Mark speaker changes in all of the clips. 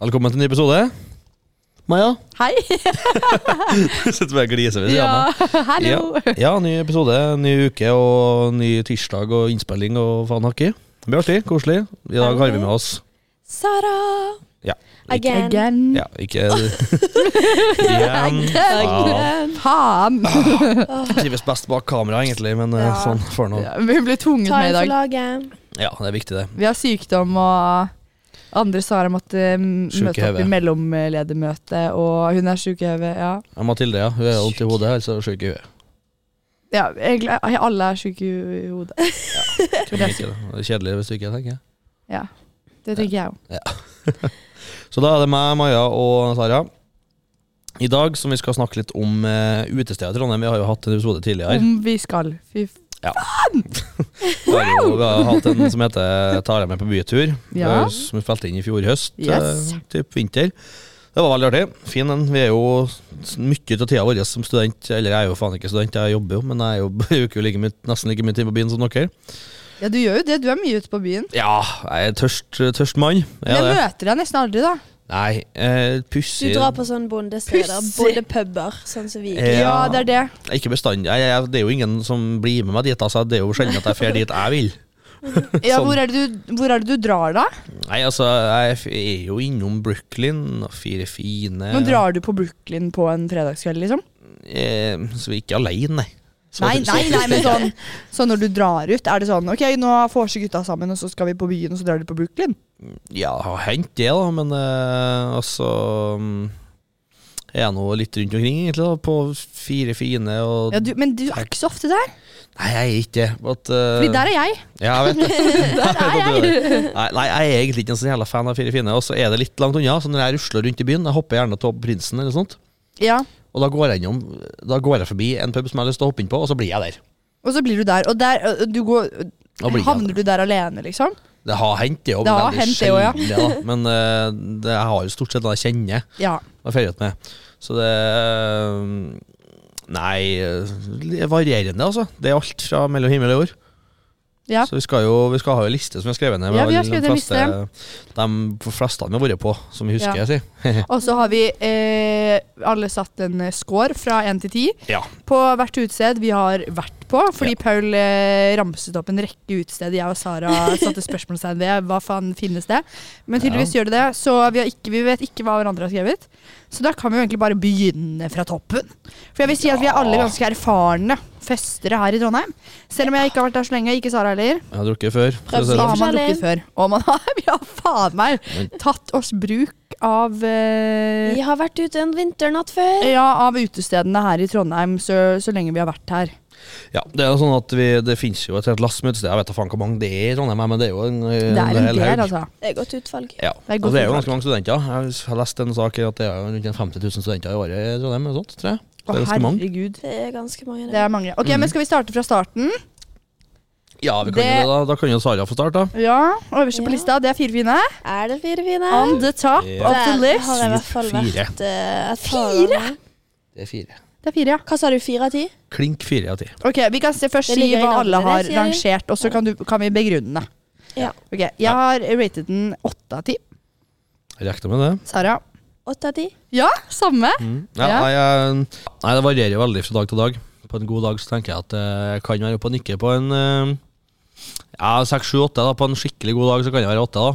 Speaker 1: Velkommen til en ny episode. Maja,
Speaker 2: Hei!
Speaker 1: sitter bare og gliser ved siden av
Speaker 2: Ja,
Speaker 1: meg.
Speaker 2: hallo!
Speaker 1: Ja, ja, ny episode, ny uke og ny tirsdag og innspilling og faen hakki. Det blir artig, koselig. I dag har vi med oss
Speaker 2: Sara!
Speaker 1: Ja. Ikke,
Speaker 2: Again.
Speaker 3: Again.
Speaker 1: ja, ikke Igjen. Ja,
Speaker 3: Faen!
Speaker 1: trives best bak kamera, egentlig, men eh,
Speaker 2: Ja.
Speaker 1: sånn får nå.
Speaker 3: Ja, vi blir tvunget
Speaker 2: Ta
Speaker 3: med i
Speaker 2: en for
Speaker 3: dag.
Speaker 2: laget.
Speaker 1: Ja, det er viktig, det.
Speaker 3: Vi har sykdom og andre Sara måtte mm,
Speaker 1: Sjuk i
Speaker 3: møte opp
Speaker 1: hodet.
Speaker 3: i mellomledermøte, og hun er sjuk i hodet. Ja.
Speaker 1: Ja, Mathilde, ja. Hun er vondt i hodet, altså sjuk i huet.
Speaker 3: ja, egentlig er- alle er syke i i hodet.
Speaker 1: Tror man ikke Det Det er kjedelig hvis du ikke tenker. jeg.
Speaker 3: Ja, det tenker jeg òg.
Speaker 1: Så da er det meg, Maja og Sara. I dag som vi skal snakke litt om eh, utestedet i Trondheim. Vi har jo hatt en episode tidligere.
Speaker 3: Om vi skal. Fy f...
Speaker 1: Vi har jo vi har hatt en som heter 'Tar deg med på bytur',
Speaker 3: Ja.
Speaker 1: eh, som vi spilte inn i fjor høst.
Speaker 3: Yes.
Speaker 1: eh, Typ vinter. Det var veldig artig. Fin den. Vi er jo s- mye av tida vår som student, eller jeg er jo faen ikke student, jeg jobber jo, men jeg er jo, bruker jo like mye, nesten like mye tid på byen som dere.
Speaker 3: Ja, du gjør jo det. Du er mye ute på byen.
Speaker 1: Ja, jeg er tørst, tørst mann. Jeg
Speaker 3: Men
Speaker 1: er
Speaker 3: jeg
Speaker 1: det.
Speaker 3: møter deg nesten aldri, da.
Speaker 1: Nei, eh,
Speaker 2: Du
Speaker 1: pussig
Speaker 2: drar på sånne bondesteder.
Speaker 3: Pussig.
Speaker 2: Bondepuber, sånn som vi
Speaker 1: Ja.
Speaker 2: liker.
Speaker 3: Ja, det er det.
Speaker 1: Ikke bestandig. Jeg, jeg, det er jo ingen som blir med meg dit, altså. Det er jo sjelden at jeg drar dit jeg vil.
Speaker 3: Ja,
Speaker 1: Sånn.
Speaker 3: hvor, er det du, hvor er det du drar, da?
Speaker 1: Nei, altså, jeg f- er jo innom Brooklyn og Fire fine.
Speaker 3: Men drar du på Brooklyn på en fredagskveld, liksom?
Speaker 1: Eh, så vi er ikke alene, nei. Så-
Speaker 3: Nei,
Speaker 1: så-
Speaker 3: nei, nei, men sånn, sånn når du drar ut, er det sånn Ok, nå får seg gutta sammen, og så skal vi på byen, og så drar de på Brooklyn?
Speaker 1: Ja, det har hendt det, da, men eh, altså mm, Jeg er nå litt rundt omkring, egentlig, da, på Fire fine og
Speaker 3: Ja, du, men du er ikke så ofte der,
Speaker 1: Nei, jeg er ikke det. but, eh,
Speaker 3: Fordi der er jeg.
Speaker 1: Ja, jeg vet det.
Speaker 3: Der er jeg.
Speaker 1: Nei, nei, jeg er egentlig ikke en sånn jævla fan av Fire fine, og så er det litt langt unna. Så når jeg rusler rundt i byen, jeg hopper gjerne av Prinsen eller sånt,
Speaker 3: Ja,
Speaker 1: og da går jeg innom Da går jeg forbi en pub som jeg har lyst til å hoppe inn på, og så blir jeg der.
Speaker 3: Og så blir du der, og der ø, du går,
Speaker 1: Da blir jeg der.
Speaker 3: Havner du der alene, liksom?
Speaker 1: Det har hendt, det òg.
Speaker 3: Det har hendt det også, ja.
Speaker 1: da. Men eh, det, jeg har jo stort sett det jeg kjenner.
Speaker 3: Ja.
Speaker 1: og feiret med. Så det øhm, Nei, det er varierende, altså. Det er alt fra mellom himmel og jord.
Speaker 3: Ja.
Speaker 1: Så vi skal jo vi skal ha en liste som vi har skrevet ned.
Speaker 3: Ja, vi
Speaker 1: alle
Speaker 3: har skrevet
Speaker 1: de
Speaker 3: en
Speaker 1: fleste, de fleste vi har vært på, som vi husker.
Speaker 3: Ja.
Speaker 1: jeg sier.
Speaker 3: Og så har vi eh, alle satt en eh, score fra én til ti
Speaker 1: Ja.
Speaker 3: på hvert utested vi har vært på. Fordi Paul eh, ramset opp en rekke utesteder jeg og Sara satte spørsmålstegn ved. Hva faen finnes det? Men tydeligvis gjør det det, så vi, har ikke, vi vet ikke hva hverandre har skrevet. Så da kan vi jo egentlig bare begynne fra toppen. For jeg vil si at vi er alle
Speaker 1: Ja.
Speaker 3: ganske erfarne festere her i Trondheim. Selv om jeg ikke har vært der så lenge, ikke Sara heller.
Speaker 1: Jeg har drukket før. så
Speaker 2: Prøv
Speaker 3: Så
Speaker 1: det-
Speaker 3: har man
Speaker 2: forskjellig.
Speaker 3: drukket før. Og man har, vi har faen meg
Speaker 1: Men-
Speaker 3: tatt oss bruk av eh,
Speaker 2: Vi har vært ute en vinternatt før.
Speaker 3: ja, av utestedene her i Trondheim så, så lenge vi har vært her.
Speaker 1: Ja, det er jo sånn at vi, det finnes jo et helt lass med utesteder. Jeg vet da faen hvor mange det er i Trondheim, men det er jo en, øh,
Speaker 3: Det er en
Speaker 1: hel haug.
Speaker 3: del, altså.
Speaker 2: Det er godt utvalg.
Speaker 1: Ja. og det er
Speaker 3: er godt
Speaker 1: jo
Speaker 3: utvalg.
Speaker 1: ganske mange studenter. Jeg har lest en sak i at det er rundt 50 000 studenter i året i Trondheim. eller Sånt, tror jeg. Det
Speaker 3: Å,
Speaker 1: er ganske mange. Mm.
Speaker 3: herregud.
Speaker 2: Det er ganske mange.
Speaker 3: Det er mange. Ok, men Skal vi starte fra starten?
Speaker 1: Ja, vi kan jo
Speaker 3: Det-
Speaker 1: det, da, da kan jo Sara få starte, da.
Speaker 3: Ja, Øverst på
Speaker 2: Ja.
Speaker 3: lista, det er fire fine.
Speaker 2: Er det fire fine?
Speaker 3: On the top
Speaker 1: Ja.
Speaker 3: of the
Speaker 2: Der har
Speaker 3: list.
Speaker 2: jeg i hvert fall
Speaker 1: Fire.
Speaker 2: vært eh, et par ganger.
Speaker 1: Det er fire.
Speaker 3: Det er fire, ja.
Speaker 2: Hva sa du, fire av ti?
Speaker 1: Klink fire av ti.
Speaker 3: Ok, Vi kan se først
Speaker 2: Det
Speaker 3: si
Speaker 2: ligger i
Speaker 3: hva alle
Speaker 2: navnet,
Speaker 3: har
Speaker 2: det sier vi.
Speaker 3: rangert, og så kan, du- kan vi begrunne det.
Speaker 2: Ja.
Speaker 3: Ok, Jeg har rated den åtte av ti.
Speaker 1: Rekna med det.
Speaker 3: Sara?
Speaker 2: Åtte av ti?
Speaker 3: Ja, samme.
Speaker 1: Ja,
Speaker 3: Ja.
Speaker 1: Nei, jeg, nei, det varierer jo veldig fra dag til dag. På en god dag så tenker jeg at eh, jeg kan være oppe og nikke på en eh, Ja, seks, sju, åtte. da. På en skikkelig god dag så kan jeg være åtte, da.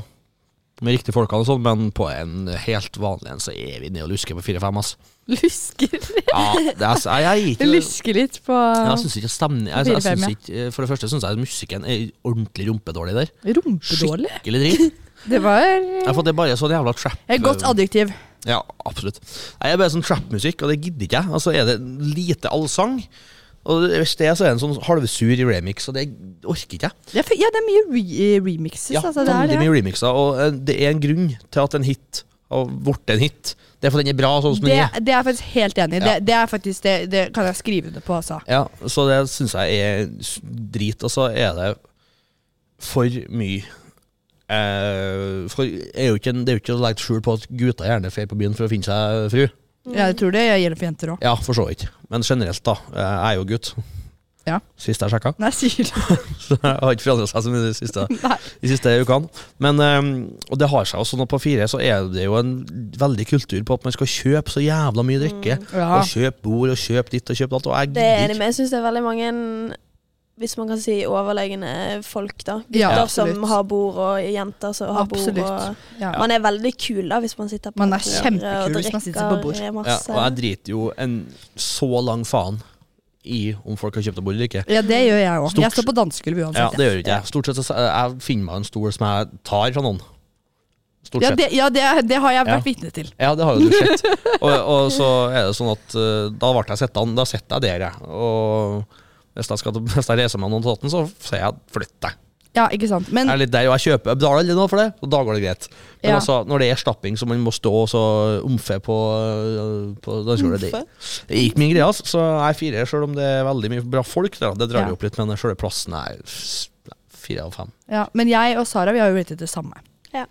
Speaker 1: Med riktige folkene og sånn, men på en helt vanlig en så er vi nede og lusker på fire-fem, ass.
Speaker 3: Lusker,
Speaker 1: Ja, det er, jeg, jeg, er ikke,
Speaker 3: lusker litt på
Speaker 1: jeg syns ikke stemning jeg, jeg,
Speaker 3: Fire-fem,
Speaker 1: synes
Speaker 3: ja.
Speaker 1: ikke, eh, For det første syns jeg musikken er ordentlig rumpedårlig der.
Speaker 3: Rumpedårlig.
Speaker 1: Skikkelig dritt.
Speaker 3: Det var
Speaker 1: Jeg har fått det bare sånn jævla trap.
Speaker 3: et godt adjektiv.
Speaker 1: Ja, absolutt. Nei, Jeg er bare sånn trap-musikk, og det gidder ikke jeg. Altså, er det lite allsang? Og hvis det er, så er det en sånn halvsur remix, og det orker ikke jeg.
Speaker 3: Ja, for, ja, det er mye re remixes.
Speaker 1: Ja,
Speaker 3: altså, det er
Speaker 1: veldig
Speaker 3: det.
Speaker 1: mye remixer, og eh, det er en grunn til at en hit har blitt en hit. Det er fordi den er bra sånn som den er.
Speaker 3: Det, det er jeg faktisk helt enig i.
Speaker 1: Ja.
Speaker 3: Det, det, er faktisk det, det kan jeg skrive under på, altså.
Speaker 1: Ja, så det syns jeg er s- drit, og så er det for mye. Eh, for er jo ikke, en- det er jo ikke å legge skjul på at gutta gjerne drar på byen for å finne seg fru.
Speaker 3: Ja, jeg tror det gjelder for jenter òg.
Speaker 1: Ja, for så vidt. Men generelt, da. eh, Jeg er jo gutt.
Speaker 3: Ja.
Speaker 1: Sist jeg sjekka.
Speaker 3: Nei, sier du.
Speaker 1: Så det har ikke forandra seg så mye de siste,
Speaker 3: Nei.
Speaker 1: de siste ukene. Men, ehm, og det har seg jo sånn at på fire så er det jo en veldig kultur på at man skal kjøpe så jævla mye drikke.
Speaker 3: Mm. Ja.
Speaker 1: Og kjøpe bord, og kjøpe ditt, og kjøpe datt. Og jeg
Speaker 2: Det er jeg enig
Speaker 1: gidder ikke.
Speaker 2: med. Jeg syns det er veldig mange, hvis man kan si overlegne folk, da.
Speaker 3: Ja,
Speaker 2: Gutter
Speaker 3: absolutt.
Speaker 2: som har bord, og jenter som har bord.
Speaker 3: Absolutt.
Speaker 2: Og
Speaker 3: Ja.
Speaker 2: man er veldig kul da, hvis man sitter på
Speaker 3: Man er
Speaker 2: et bord
Speaker 3: kjempekul
Speaker 2: og
Speaker 3: hvis man sitter på bord.
Speaker 2: drikker
Speaker 1: Ja,
Speaker 2: masse.
Speaker 1: og jeg driter jo en så lang faen i om folk har kjøpt et bord eller ikke.
Speaker 3: ja, det gjør jeg òg.
Speaker 1: Stort-
Speaker 3: Jeg står på dansegulv
Speaker 1: Ja,
Speaker 3: uansett.
Speaker 1: det gjør ikke jeg. Stort sett så eh, jeg finner meg en stol som jeg tar fra noen. Stort
Speaker 3: Ja,
Speaker 1: sett.
Speaker 3: det, ja det, det har jeg
Speaker 1: Ja.
Speaker 3: vært vitne til.
Speaker 1: Ja, det har jo du sett. Og, og så er det sånn at eh, da ble jeg sittende. Da sitter jeg der, jeg. Og hvis jeg, skal, hvis jeg reiser meg noen tatten, så sier jeg 'flytt deg'.
Speaker 3: Ja, ikke sant. Men
Speaker 1: Jeg er litt der, og jeg kjøper jeg betaler aldri noe for det, og da går det greit. Men
Speaker 3: Ja.
Speaker 1: altså, når det er stapping, så man må stå og så omfe på, øh, på dansegulvet det, det er ikke min greie, altså. Så jeg firer, selv om det er veldig mye bra folk. Da. Det drar
Speaker 3: Ja.
Speaker 1: jo opp litt, men selve plassen er s- fire av fem.
Speaker 3: Ja, men jeg og Sara vi har jo blitt det samme.
Speaker 2: Ja.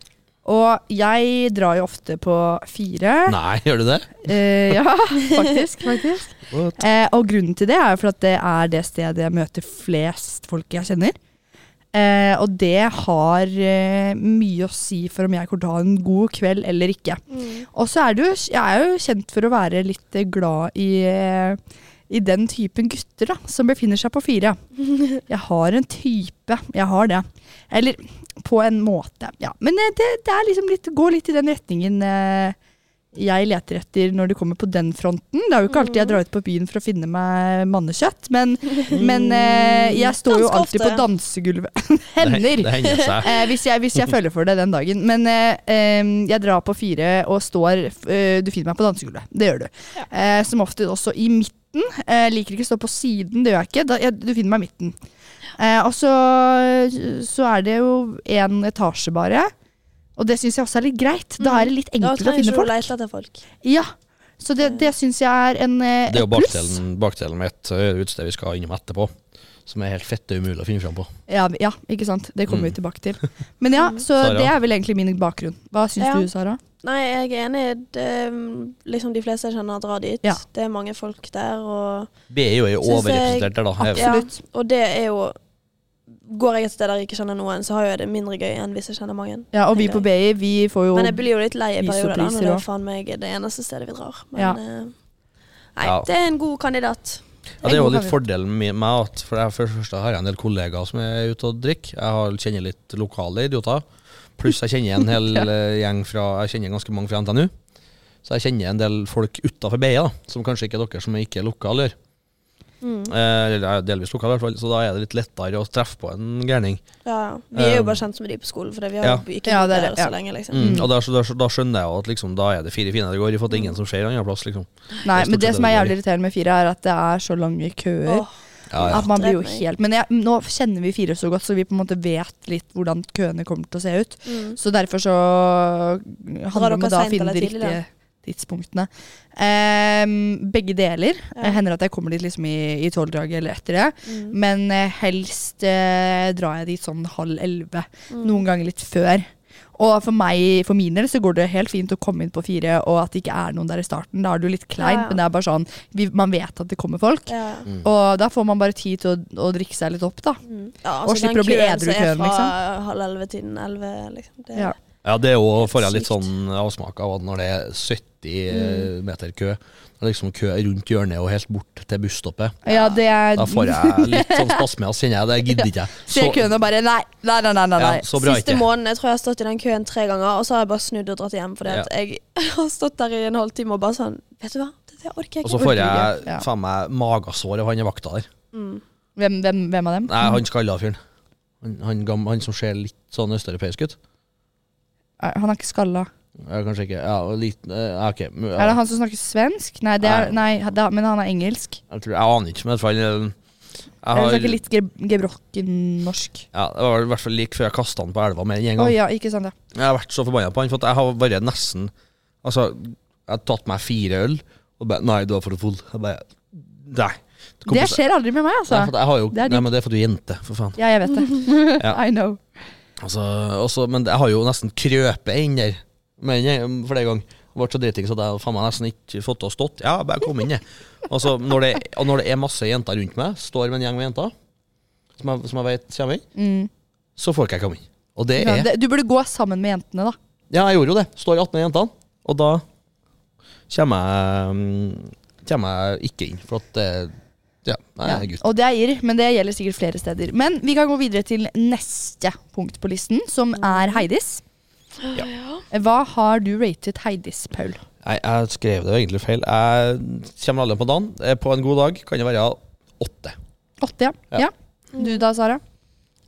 Speaker 3: Og jeg drar jo ofte på fire.
Speaker 1: Nei, gjør du det?
Speaker 3: Eh, ja, faktisk. faktisk.
Speaker 1: What?
Speaker 3: Eh, og grunnen til det er jo for at det er det stedet jeg møter flest folk jeg kjenner. Eh, og det har eh, mye å si for om jeg kommer til å ha en god kveld eller ikke.
Speaker 2: Mm.
Speaker 3: Og så er du, jeg er jo kjent for å være litt eh, glad i, eh, i den typen gutter da, som befinner seg på fire. Jeg har en type, jeg har det. Eller på en måte, ja. Men eh, det, det er liksom litt, går litt i den retningen eh, jeg leter etter når det kommer på den fronten. Det er jo ikke alltid
Speaker 2: Mm.
Speaker 3: jeg drar ut på byen for å finne meg mannekjøtt, men, men eh, jeg står jo
Speaker 2: Ganske ofte,
Speaker 3: alltid på
Speaker 2: ja.
Speaker 3: dansegulvet. Hender!
Speaker 1: Det, det hender seg.
Speaker 3: Eh, hvis, jeg, hvis jeg føler for det den dagen. Men eh, eh, jeg drar på fire og står f- eh, Du finner meg på dansegulvet. Det gjør du. Eh, som ofte også i midten. Eh, liker ikke å stå på siden, det gjør jeg ikke. Da, jeg, du finner meg i midten. Eh, og så, så er det jo én etasje bare. Og det syns jeg også er litt greit. Da er det litt
Speaker 2: Mm. Da
Speaker 3: enkelt å
Speaker 2: trenger
Speaker 3: finne
Speaker 2: ikke du
Speaker 3: folk.
Speaker 2: lete etter folk.
Speaker 3: Ja, Så det, det syns jeg er en eh,
Speaker 1: Det er jo
Speaker 3: et pluss.
Speaker 1: bakdelen, bakdelen med et øh, utested vi skal innom etterpå, som er helt fette umulig å finne fram på.
Speaker 3: Ja, vi- ja, ikke sant. Det kommer
Speaker 1: Mm.
Speaker 3: vi tilbake til. Men ja, så
Speaker 1: Sara?
Speaker 3: det er vel egentlig min bakgrunn. Hva syns
Speaker 2: Ja.
Speaker 3: du, Sara?
Speaker 2: Nei, jeg er enig. Det, um, liksom de fleste jeg kjenner, drar dit.
Speaker 3: Ja.
Speaker 2: Det er mange folk der. Og,
Speaker 1: Vi er jo i
Speaker 2: Synes jeg-
Speaker 1: overrepresentert der, da. Jeg-
Speaker 2: ja,
Speaker 3: Absolutt.
Speaker 2: og det er jo Går jeg et sted der jeg ikke kjenner noen, så har jo jeg det mindre gøy enn hvis jeg kjenner mange.
Speaker 3: Ja, og vi på BI, vi får jo
Speaker 2: Men jeg blir jo litt lei i
Speaker 3: Vis og
Speaker 2: perioder, da,
Speaker 3: priser
Speaker 2: når det er
Speaker 3: også.
Speaker 2: faen meg det eneste stedet vi drar. Men
Speaker 3: Ja.
Speaker 2: eh, nei,
Speaker 1: Ja.
Speaker 2: det er en god kandidat.
Speaker 1: Ja, Det er jo
Speaker 3: En god
Speaker 1: litt fordelen med meg. At for, jeg, for det første har jeg en del kollegaer som er ute og drikker. Jeg har, kjenner litt lokale idioter. Pluss jeg kjenner en hel eh, gjeng fra Jeg kjenner ganske mange fra NTNU. Så jeg kjenner en del folk utafor BIA, da, som kanskje ikke dere som ikke er lokale, gjør.
Speaker 2: Mm.
Speaker 1: Eh, Eller jeg er delvis lokale, i hvert fall. Så da er det litt lettere å treffe på en gærning.
Speaker 2: Ja, vi er
Speaker 1: Um,
Speaker 2: jo bare kjent med de på skolen, for vi har
Speaker 1: ja.
Speaker 2: jo ikke
Speaker 3: Ja,
Speaker 2: bodd
Speaker 3: det er
Speaker 2: der
Speaker 3: det,
Speaker 2: så
Speaker 3: ja.
Speaker 2: lenge, liksom.
Speaker 1: Mm. Og da, så- da, så- da skjønner jeg jo at liksom, da er det fire fine det går i, for at det er ingen som ser andre plass, liksom. Det er
Speaker 3: Nei, men
Speaker 1: stort
Speaker 3: det
Speaker 1: sett
Speaker 3: som er
Speaker 1: det vi
Speaker 3: jævlig irriterende med fire, er at det er så lange køer.
Speaker 2: Åh,
Speaker 1: Ja, ja.
Speaker 3: At man blir jo
Speaker 2: Drep meg.
Speaker 3: helt Men jeg, nå kjenner vi fire så godt, så vi på en måte vet litt hvordan køene kommer til å se ut.
Speaker 2: mm.
Speaker 3: Så derfor så handler det om
Speaker 2: dere
Speaker 3: å da
Speaker 2: sent
Speaker 3: finne
Speaker 2: eller
Speaker 3: de
Speaker 2: tidlig, da?
Speaker 3: riktige tidspunktene. Ehm, begge deler.
Speaker 2: Ja.
Speaker 3: Hender at jeg kommer dit liksom i, i tolvdraget eller etter det.
Speaker 2: Mm.
Speaker 3: Men eh, helst eh, drar jeg dit sånn halv elleve.
Speaker 2: Mm.
Speaker 3: Noen ganger litt før. Og for meg, for min del så går det helt fint å komme inn på fire, og at det ikke er noen der i starten. Da er du litt klein,
Speaker 2: Ja, ja.
Speaker 3: men det er bare sånn, vi, man vet at det kommer folk.
Speaker 2: Ja.
Speaker 3: Og da får man bare tid til å, å drikke seg litt opp, da.
Speaker 2: Mm. Ja,
Speaker 3: slipper å bli edru i køen,
Speaker 2: liksom. Den køen som
Speaker 3: liksom.
Speaker 2: er fra halv elleve til den elleve, liksom. Det,
Speaker 3: Ja.
Speaker 1: Ja, det er jo- får jeg litt
Speaker 2: Sykt.
Speaker 1: sånn avsmak av at når det er 70
Speaker 3: Mm.
Speaker 1: meter kø, det er liksom kø rundt hjørnet og helt bort til busstoppet,
Speaker 3: Ja, det er
Speaker 1: da får jeg litt sånn spasme, og så kjenner jeg det gidder ikke jeg.
Speaker 3: Ser
Speaker 1: Så-
Speaker 3: køen og bare nei, nei, nei, nei. nei,
Speaker 1: ja,
Speaker 3: nei.
Speaker 1: så bra
Speaker 2: Siste
Speaker 1: ikke.
Speaker 2: måneden jeg tror jeg har stått i den køen tre ganger, og så har jeg bare snudd og dratt hjem. Fordi at jeg har stått der i en halvtime og bare sånn Vet du hva, dette orker jeg
Speaker 1: Og
Speaker 2: ikke.
Speaker 1: så får jeg
Speaker 3: orker ikke. Ja.
Speaker 1: faen meg magasår av han i vakta der.
Speaker 2: Mm.
Speaker 3: Hvem, hvem, hvem av dem?
Speaker 1: Nei, han skalla fyren. Han, han, gam- han som ser litt sånn østeuropeisk ut.
Speaker 3: Nei, Han er ikke skalla.
Speaker 1: Ja, kanskje ikke Ja, og liten eh, OK. mu-
Speaker 3: Er
Speaker 1: ja,
Speaker 3: det han som snakker svensk? Nei, det er, nei da, men han er engelsk.
Speaker 1: Jeg, tror, jeg aner ikke, men i hvert fall eh, jeg
Speaker 3: Eller
Speaker 1: har,
Speaker 3: snakker litt ge- gebrokken-norsk.
Speaker 1: ja, Det var i hvert fall like før jeg kasta han på elva mer enn én
Speaker 3: Å
Speaker 1: gang.
Speaker 3: ja, ikke sant, ja.
Speaker 1: Jeg har vært så forbanna på han, for at jeg har vært nesten Altså, jeg har tatt meg fire øl, og bare Nei, du er for full. Jeg bare Nei.
Speaker 3: Det skjer aldri med meg,
Speaker 1: Nei, for
Speaker 3: altså.
Speaker 1: at jeg har jo,
Speaker 3: Det er
Speaker 1: nei, men det er fordi du er jente, for faen.
Speaker 3: Ja, jeg vet det.
Speaker 1: Ja.
Speaker 3: I know.
Speaker 1: Altså, også, men jeg har jo nesten krøpet inn der, men jeg- flere ganger. Ble så dritings at jeg faen meg nesten ikke fått til å stått. Ja, bare kom inn, jeg. Og så når det, og når det er masse jenter rundt meg, står med en gjeng med jenter, som jeg, som jeg vet kommer inn,
Speaker 3: Mm.
Speaker 1: så får ikke jeg komme inn. Og det
Speaker 3: Ja,
Speaker 1: er
Speaker 3: det, du burde gå sammen med jentene, da.
Speaker 1: Ja, jeg gjorde jo det. Står 18 av jentene, og da kommer jeg mm, Kommer jeg ikke inn, for at det Ja, nei, jeg er gutt.
Speaker 3: Og det er irr, men det gjelder sikkert flere steder. Men vi kan gå videre til neste punkt på listen, som er Heidis.
Speaker 1: Ja.
Speaker 3: Hva har du ratet Heidis, Paul?
Speaker 1: Nei, jeg skrev det jo egentlig feil. Jeg kommer aldri på dagen. Eh, På en god dag kan det være åtte.
Speaker 3: Åtte, ja.
Speaker 1: Ja.
Speaker 3: ja. Du da, Sara?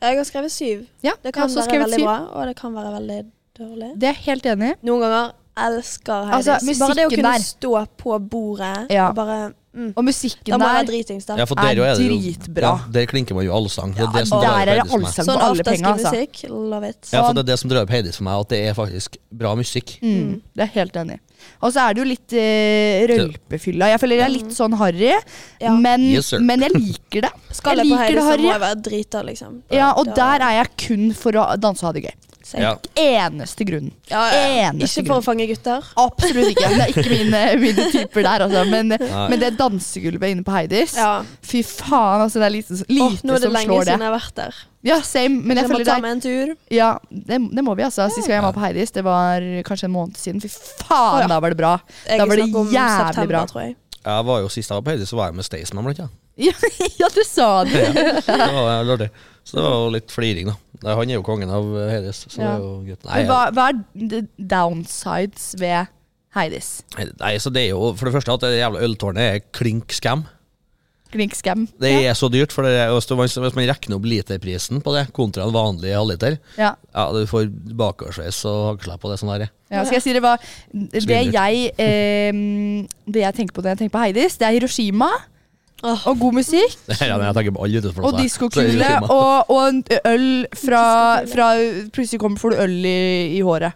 Speaker 2: Jeg har skrevet syv.
Speaker 3: Ja, jeg har
Speaker 2: Det kan
Speaker 3: også
Speaker 2: være
Speaker 3: skrevet
Speaker 2: veldig
Speaker 3: syv.
Speaker 2: bra, og det kan være veldig dårlig.
Speaker 3: Det er jeg helt enig i.
Speaker 2: Noen ganger elsker Heidis.
Speaker 3: Altså,
Speaker 2: bare det å
Speaker 3: musikken
Speaker 2: kunne
Speaker 3: der.
Speaker 2: stå på bordet
Speaker 3: Ja.
Speaker 2: og bare mm,
Speaker 3: Og musikken
Speaker 2: Da må jeg ha
Speaker 3: der
Speaker 2: dritings, da.
Speaker 1: Ja, for dere
Speaker 3: er
Speaker 1: er det jo
Speaker 3: dritbra.
Speaker 1: Ja, der klinker man jo allsang. Det er det som
Speaker 3: der
Speaker 1: drar opp
Speaker 3: er det
Speaker 1: Heidis for meg.
Speaker 3: allsang.
Speaker 2: Sånn
Speaker 3: på alle penger, altså.
Speaker 2: afterski-musikk. Love it.
Speaker 1: Ja, for det er det som drar opp Heidis for meg, at det er faktisk bra musikk.
Speaker 3: Mm, det er jeg helt enig i. Og så er det jo litt eh, rølpefylla. Jeg føler jeg er litt sånn harry,
Speaker 2: Mm. Ja.
Speaker 3: men,
Speaker 1: Yes, sir.
Speaker 3: men jeg liker det.
Speaker 2: Skal
Speaker 3: jeg
Speaker 2: jeg på
Speaker 3: liker
Speaker 2: Heidis,
Speaker 3: det
Speaker 2: så må
Speaker 3: harry.
Speaker 2: jeg være drita, liksom.
Speaker 3: Ja, og der er jeg kun for å danse og ha det gøy.
Speaker 2: Same.
Speaker 1: Ja.
Speaker 3: Eneste grunnen. Eneste
Speaker 2: Ikke for å fange gutter.
Speaker 3: Absolutt ikke. Det er ikke mine, mine typer der, altså. Men,
Speaker 1: Nei.
Speaker 3: men det dansegulvet inne på Heidis
Speaker 2: Ja.
Speaker 3: Fy faen, altså. Det er lite,
Speaker 2: Åh,
Speaker 3: lite
Speaker 2: nå er det
Speaker 3: som
Speaker 2: lenge
Speaker 3: slår det.
Speaker 2: siden jeg har vært der.
Speaker 3: Ja, same. Men jeg
Speaker 2: jeg må
Speaker 3: føler
Speaker 2: ta
Speaker 3: det er
Speaker 2: meg en tur.
Speaker 3: Ja, det, det må vi, altså. Sist gang jeg var på Heidis, det var kanskje en måned siden. Fy faen,
Speaker 2: Å, ja.
Speaker 3: da var det bra.
Speaker 2: Jeg
Speaker 3: Da var det
Speaker 2: snakker om
Speaker 3: jævlig
Speaker 2: september,
Speaker 3: bra.
Speaker 2: Tror jeg.
Speaker 1: Jeg var jo Sist jeg var på Heidis, så var jeg med Staysman, blant annet.
Speaker 3: Ja, ja du sa det.
Speaker 1: Det var jo artig. Så det var jo litt fliring, da. Nei, Han er jo kongen av Heidis, så det
Speaker 3: Ja.
Speaker 1: er jo greit. Nei,
Speaker 3: Men hva, hva er the downsides ved Heidis?
Speaker 1: nei, så det er jo for det første at det jævla øltårnet er klink skam.
Speaker 3: Klinkskam.
Speaker 1: Det er så dyrt, for det er, hvis man- hvis man regner opp literprisen på det kontra en vanlig halvliter,
Speaker 3: Ja.
Speaker 1: ja, du får bakoversveis og hagle på det sånn der.
Speaker 3: Ja, skal jeg si det hva Det
Speaker 1: Svindel.
Speaker 3: jeg, ehm, det jeg tenker på når jeg tenker på Heidis, det er Hiroshima.
Speaker 2: Åh.
Speaker 3: Og god musikk.
Speaker 1: Det her er når jeg tenker på alle utenfor
Speaker 3: Og
Speaker 1: det, så er det
Speaker 3: diskokule.
Speaker 1: Hiroshima.
Speaker 3: Og, og en øl fra, fra Plutselig kommer får du øl i, i håret.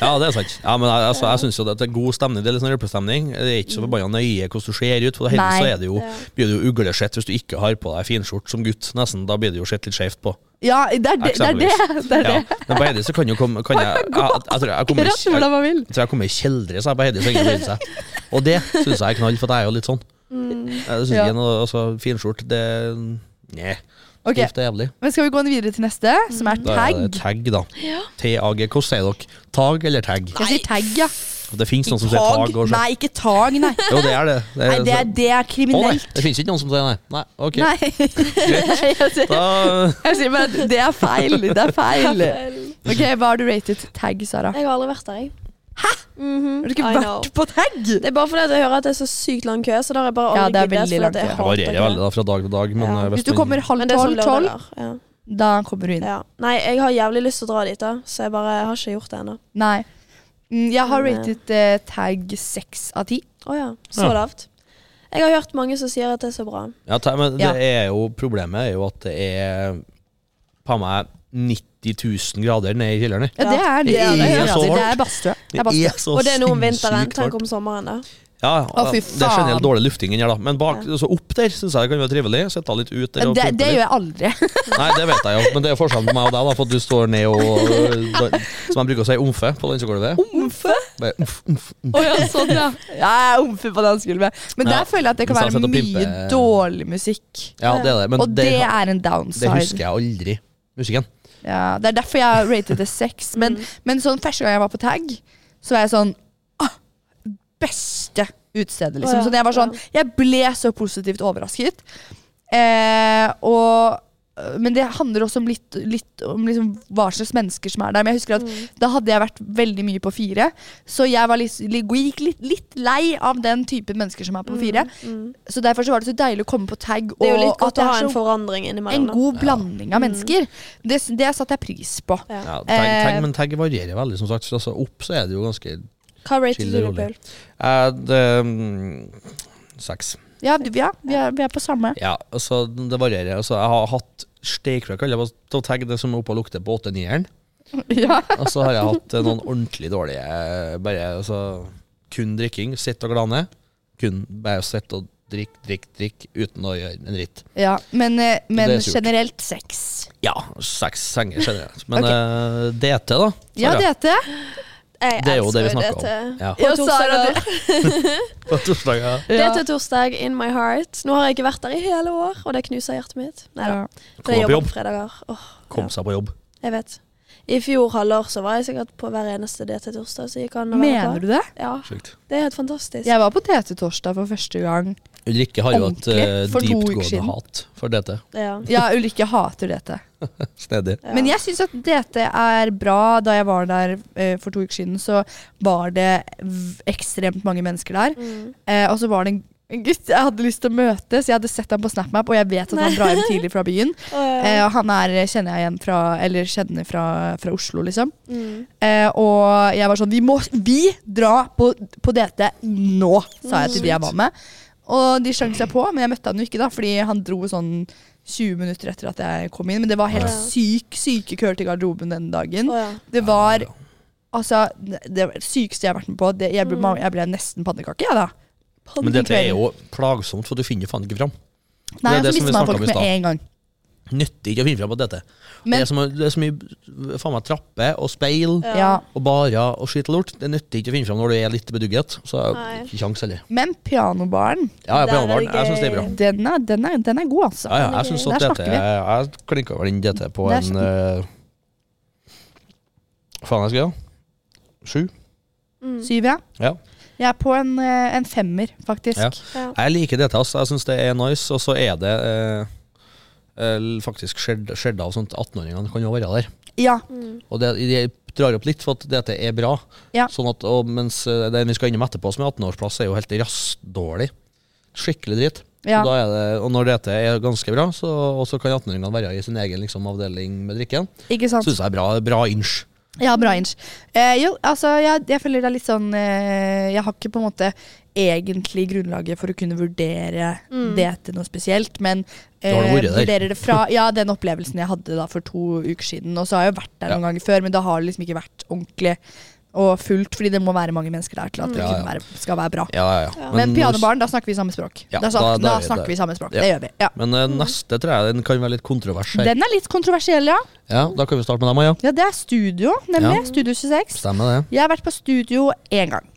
Speaker 1: Ja, det er sant. Ja, men jeg- altså, jeg syns jo at det er god stemning. Det er litt sånn rølpestemning. Det er ikke så forbanna nøye hvordan du ser ut, for heldigvis
Speaker 3: Nei.
Speaker 1: så er det jo,
Speaker 2: Ja.
Speaker 1: blir du jo uglesett hvis du ikke har på deg finskjort som gutt, nesten. Da blir det jo sett litt skjevt på.
Speaker 3: Ja, det er det. det, er det. det, er det.
Speaker 1: Ja, men på Heidi så kan jo komme kan jeg, jeg, jeg, jeg, tror jeg, kommer,
Speaker 3: Rett
Speaker 1: i-
Speaker 3: hvordan man vil.
Speaker 1: jeg tror jeg kommer i kjeldre, sa jeg på Heidi. Så ingen bryr seg. Og det syns jeg er knall, for jeg er jo litt sånn. Jeg syns
Speaker 3: Mm. Ja.
Speaker 1: ikke noe altså, Finskjort, det Nei.
Speaker 3: Ok.
Speaker 1: Gift er jævlig.
Speaker 3: Men skal vi gå videre til neste, som er
Speaker 1: Mm. Da er det
Speaker 3: tag?
Speaker 1: tag, da. T-A-G. Hvordan sier dere? Tag eller tag?
Speaker 3: Jeg sier tag, ja.
Speaker 1: Det fins noen Sånn som sier tag. Og
Speaker 3: Nei, ikke tag, nei.
Speaker 1: Jo, det er det. Det,
Speaker 3: Nei, det er, det er
Speaker 1: Eh, Å, nei,
Speaker 3: kriminelt.
Speaker 1: det finnes ikke noen som sier nei. Nei, ok.
Speaker 3: Nei. Jeg sier-
Speaker 1: Da,
Speaker 3: jeg sier bare at det er feil. Det er feil. Ok, Hva har du ratet tag, Sara?
Speaker 2: Jeg har aldri vært der, jeg. Mhm.
Speaker 3: Har du ikke
Speaker 2: I know.
Speaker 3: vært på tag?
Speaker 2: Det er bare fordi at jeg hører at det er så sykt lang kø, så da har jeg bare
Speaker 3: Ja, det
Speaker 2: aldri
Speaker 3: er veldig
Speaker 2: giddet. fordi
Speaker 3: lang
Speaker 2: at
Speaker 3: kø.
Speaker 2: jeg
Speaker 1: det
Speaker 2: hater
Speaker 1: varierer
Speaker 2: kø.
Speaker 1: veldig da, fra dag til dag. Men
Speaker 2: Ja.
Speaker 1: eh,
Speaker 3: Hvis du kommer halv
Speaker 2: Men det er
Speaker 3: tolv,
Speaker 2: sånn
Speaker 3: tolv,
Speaker 2: lørdager. Ja.
Speaker 3: da kommer du inn.
Speaker 2: Ja. Nei, jeg har jævlig lyst til å dra dit, da, så jeg bare har ikke gjort det ennå.
Speaker 3: Nei. Mm, Jeg har
Speaker 2: Men,
Speaker 3: ratet eh, tag seks av ti.
Speaker 2: Å ja. Så
Speaker 1: Ja.
Speaker 2: lavt. Jeg har hørt mange som sier at det er så bra.
Speaker 1: Ja, ta- men det
Speaker 3: Ja.
Speaker 1: er jo Problemet er jo at det er på meg 90 000 grader nede i kjelleren.
Speaker 3: Ja,
Speaker 2: Ja.
Speaker 3: det er det.
Speaker 1: Det er
Speaker 3: det,
Speaker 1: så
Speaker 3: er, det
Speaker 1: hardt.
Speaker 3: er badstue. Det er badstue.
Speaker 1: er så
Speaker 2: Og det er noe om vinteren.
Speaker 1: sinnssykt
Speaker 2: Tenk
Speaker 1: varmt.
Speaker 2: om sommeren, da.
Speaker 1: Ja, ja,
Speaker 3: Å, fy
Speaker 1: det er generelt
Speaker 3: faen.
Speaker 1: dårlig lufting inni her, da. Men bak, så opp der syns jeg det kan være trivelig. Sitte litt ut der.
Speaker 3: Ja,
Speaker 1: og
Speaker 3: Det,
Speaker 1: pumpe
Speaker 3: det
Speaker 1: litt.
Speaker 3: gjør jeg aldri.
Speaker 1: Nei, det vet jeg jo, men det er forskjellen på meg og deg, da, for at du står ned og Som de bruker å si, omfe på dansegulvet.
Speaker 3: Omfe?
Speaker 1: Bare omf, omf, omf.
Speaker 3: Å ja, sånn, ja. Ja, jeg er omfe på dansegulvet. Men
Speaker 1: Ja.
Speaker 3: der føler jeg at det kan
Speaker 1: Men så
Speaker 3: være
Speaker 1: har jeg sett å
Speaker 3: mye
Speaker 1: pimpe-
Speaker 3: dårlig musikk.
Speaker 1: Ja, det er det. Men
Speaker 3: Og
Speaker 1: det,
Speaker 3: det er en
Speaker 1: det
Speaker 3: downside.
Speaker 1: husker jeg aldri. Musikken.
Speaker 3: Ja, det er derfor jeg rated det seks. Men,
Speaker 2: Mm.
Speaker 3: men sånn første gang jeg var på tag, så var jeg sånn «Åh, Beste utestedet, liksom.
Speaker 2: Å, ja,
Speaker 3: Sånn, jeg, var sånn, jeg ble så positivt overrasket. Eh, og, øh, men det handler også om litt, litt om liksom hva slags mennesker som er der. Men jeg husker at
Speaker 2: Mm.
Speaker 3: da hadde jeg vært veldig mye på fire, så jeg var litt, li- gikk litt, litt lei av den typen mennesker som er på fire. Så derfor så var det så deilig å komme på tag.
Speaker 2: Mm, Det er jo
Speaker 3: og
Speaker 2: litt
Speaker 3: at
Speaker 2: godt
Speaker 3: det
Speaker 2: å
Speaker 3: er
Speaker 2: ha en
Speaker 3: så-
Speaker 2: forandring
Speaker 3: en
Speaker 2: innimellom. da.
Speaker 3: god blanding av mennesker. Det, det satte jeg pris på.
Speaker 2: Ja.
Speaker 1: Ja, tag, tag,
Speaker 3: Eh.
Speaker 1: men tag varierer veldig, som sagt. Så altså, opp så er det jo ganske
Speaker 2: Hva rated
Speaker 1: Chill
Speaker 2: du,
Speaker 1: rolig.
Speaker 2: Paul?
Speaker 1: Eh, det, mm, Seks.
Speaker 3: Ja, du- ja vi, er, vi er på samme.
Speaker 1: Ja, altså, det varierer. Altså, jeg har hatt steikfrøk, kaller jeg det, til å tagge det som er oppe og lukter på åtte-nieren.
Speaker 3: Ja.
Speaker 1: Og så har jeg hatt eh, noen ordentlig dårlige eh, Bare altså, kun drikking, sitte og glane. Kun bare sitte og drikke, drikke, drikke uten å gjøre en dritt.
Speaker 3: men eh, men
Speaker 1: Det er surt.
Speaker 3: generelt sex.
Speaker 1: Ja, seks senger generelt. Men
Speaker 3: Ok.
Speaker 1: eh, DT, da?
Speaker 3: Ja,
Speaker 1: Sara?
Speaker 3: DT.
Speaker 2: Jeg
Speaker 1: Det er jo det vi
Speaker 2: elsker
Speaker 1: snakker om.
Speaker 2: til-
Speaker 1: Ja.
Speaker 2: På
Speaker 3: Ja, Sara,
Speaker 2: torsdager.
Speaker 1: På torsdag, ja.
Speaker 2: Det til torsdag in my heart. Nå har jeg ikke vært der i hele år, og det knuser hjertet mitt. Nei da.
Speaker 3: Ja.
Speaker 1: Kom deg på jobb.
Speaker 2: fredager. Åh,
Speaker 1: Kom seg på jobb.
Speaker 2: jeg vet. I fjor halvår så var jeg sikkert på hver eneste DT-torsdag. Så gikk han og
Speaker 3: Mener du det?
Speaker 2: Ja,
Speaker 1: Sjukt.
Speaker 2: det er helt fantastisk.
Speaker 3: Jeg var på TT-torsdag for første gang.
Speaker 1: Ulrikke har jo et
Speaker 3: Ordentlig,
Speaker 1: eh,
Speaker 3: for to uker
Speaker 1: dyptgående
Speaker 3: siden.
Speaker 1: hat for DT.
Speaker 2: Ja.
Speaker 3: Ja, Ulrikke hater DT.
Speaker 1: Snedig.
Speaker 2: Ja.
Speaker 3: Men jeg syns at DT er bra. Da jeg var der eh, for to uker siden, så var det v- ekstremt mange mennesker der.
Speaker 2: Mm.
Speaker 3: Eh, og så var det en en gutt jeg hadde lyst til å møte, så jeg hadde sett ham på SnapMap, og jeg vet at han drar hjem tidlig fra byen. Eh, og han er, kjenner jeg igjen fra, eller kjenner fra, fra Oslo, liksom.
Speaker 2: Mm.
Speaker 3: Eh, og jeg var sånn Vi må vi dra på, på DT nå, sa jeg
Speaker 2: Mm.
Speaker 3: til de jeg var med. Og de slang seg på, men jeg møtte han jo ikke, da fordi han dro sånn 20 minutter etter at jeg kom inn. Men det var helt
Speaker 2: Ja.
Speaker 3: syk, syke køer til garderoben den dagen.
Speaker 2: Å, ja.
Speaker 3: Det var altså det var det sykeste jeg har vært med på. Det, jeg, ble,
Speaker 2: Mm.
Speaker 3: jeg ble nesten pannekake, jeg, da.
Speaker 1: Men dette er jo plagsomt, for du finner faen ikke fram. Det
Speaker 3: Nei,
Speaker 1: er det som
Speaker 3: så
Speaker 1: vi
Speaker 3: mister man
Speaker 1: snakket om
Speaker 3: folk
Speaker 1: i
Speaker 3: med
Speaker 1: stad.
Speaker 3: en gang.
Speaker 1: Nytter ikke å finne fram på DT.
Speaker 3: Men-
Speaker 1: det, er så, mye- det er så mye faen meg trapper og speil
Speaker 2: Ja.
Speaker 3: Ja.
Speaker 1: og barer og skitt og lort. Det nytter ikke å finne fram når du er litt bedugget. Så
Speaker 2: Nei.
Speaker 1: ikke kjangs heller.
Speaker 3: Men pianobaren,
Speaker 1: Ja, ja,
Speaker 2: Der er det
Speaker 1: pianobaren. Jeg syns det er bra.
Speaker 2: gøy.
Speaker 3: den er, den er, den er god, altså.
Speaker 1: Ja, ja, jeg synes at
Speaker 3: Der
Speaker 1: DT
Speaker 3: snakker vi.
Speaker 1: Jeg klinka vel inn DT på
Speaker 3: Der
Speaker 1: en eh, Faen, jeg skal gjøre? Sju?
Speaker 2: Mm.
Speaker 3: Syv, ja.
Speaker 1: Ja.
Speaker 3: Jeg er på en, eh, en femmer, faktisk.
Speaker 1: Ja.
Speaker 2: Ja.
Speaker 1: Jeg liker DT, altså. Jeg syns det er nice. Og så er det eh, eh, faktisk skjedd skjedd av sånn at 18-åringene kan jo være der.
Speaker 3: Ja,
Speaker 2: Mm.
Speaker 1: Og det, jeg drar opp litt for at dette er bra.
Speaker 3: Ja.
Speaker 1: Sånn at, og mens eh, den vi skal innom etterpå, som er 18-årsplass, er jo helt rassdårlig. Skikkelig dritt.
Speaker 3: ja.
Speaker 1: Og, da er det, og når dette er ganske bra, så og så kan 18-åringene være i sin egen liksom, avdeling med drikken.
Speaker 3: Ikke sant?
Speaker 1: Syns jeg er bra, bra inch.
Speaker 3: Ja, bra inch. Eh, jo, altså, jeg, jeg føler det er litt sånn eh, Jeg har ikke på en måte egentlig grunnlaget for å kunne vurdere
Speaker 2: Mm.
Speaker 3: det til noe spesielt, men
Speaker 1: Da
Speaker 3: eh,
Speaker 1: har du vært der.
Speaker 3: vurderer det fra ja, den opplevelsen jeg hadde da for to uker siden. Og så har jeg jo vært der
Speaker 1: Ja.
Speaker 3: noen ganger før, men da har det liksom ikke vært ordentlig og fullt, fordi det må være mange mennesker der til at det
Speaker 1: Ja,
Speaker 3: kunne
Speaker 1: ja.
Speaker 3: Være, skal være bra.
Speaker 1: Ja, ja, ja.
Speaker 2: Ja.
Speaker 3: Men,
Speaker 1: når-
Speaker 3: pianobaren, da snakker vi samme språk.
Speaker 1: Ja,
Speaker 3: da,
Speaker 1: da- da
Speaker 3: snakker, da,
Speaker 1: er vi
Speaker 3: snakker
Speaker 1: der.
Speaker 3: vi samme språk.
Speaker 1: Ja.
Speaker 3: Det gjør vi. Ja.
Speaker 1: Men eh, neste tror jeg den kan være litt kontrovers her.
Speaker 3: Mm. Den er litt kontroversiell, ja.
Speaker 1: Ja, Da kan vi starte med deg, Maja.
Speaker 3: Ja, det er studio, nemlig.
Speaker 1: Ja.
Speaker 3: Studio 26.
Speaker 1: Stemmer det.
Speaker 3: Jeg har vært på studio én gang.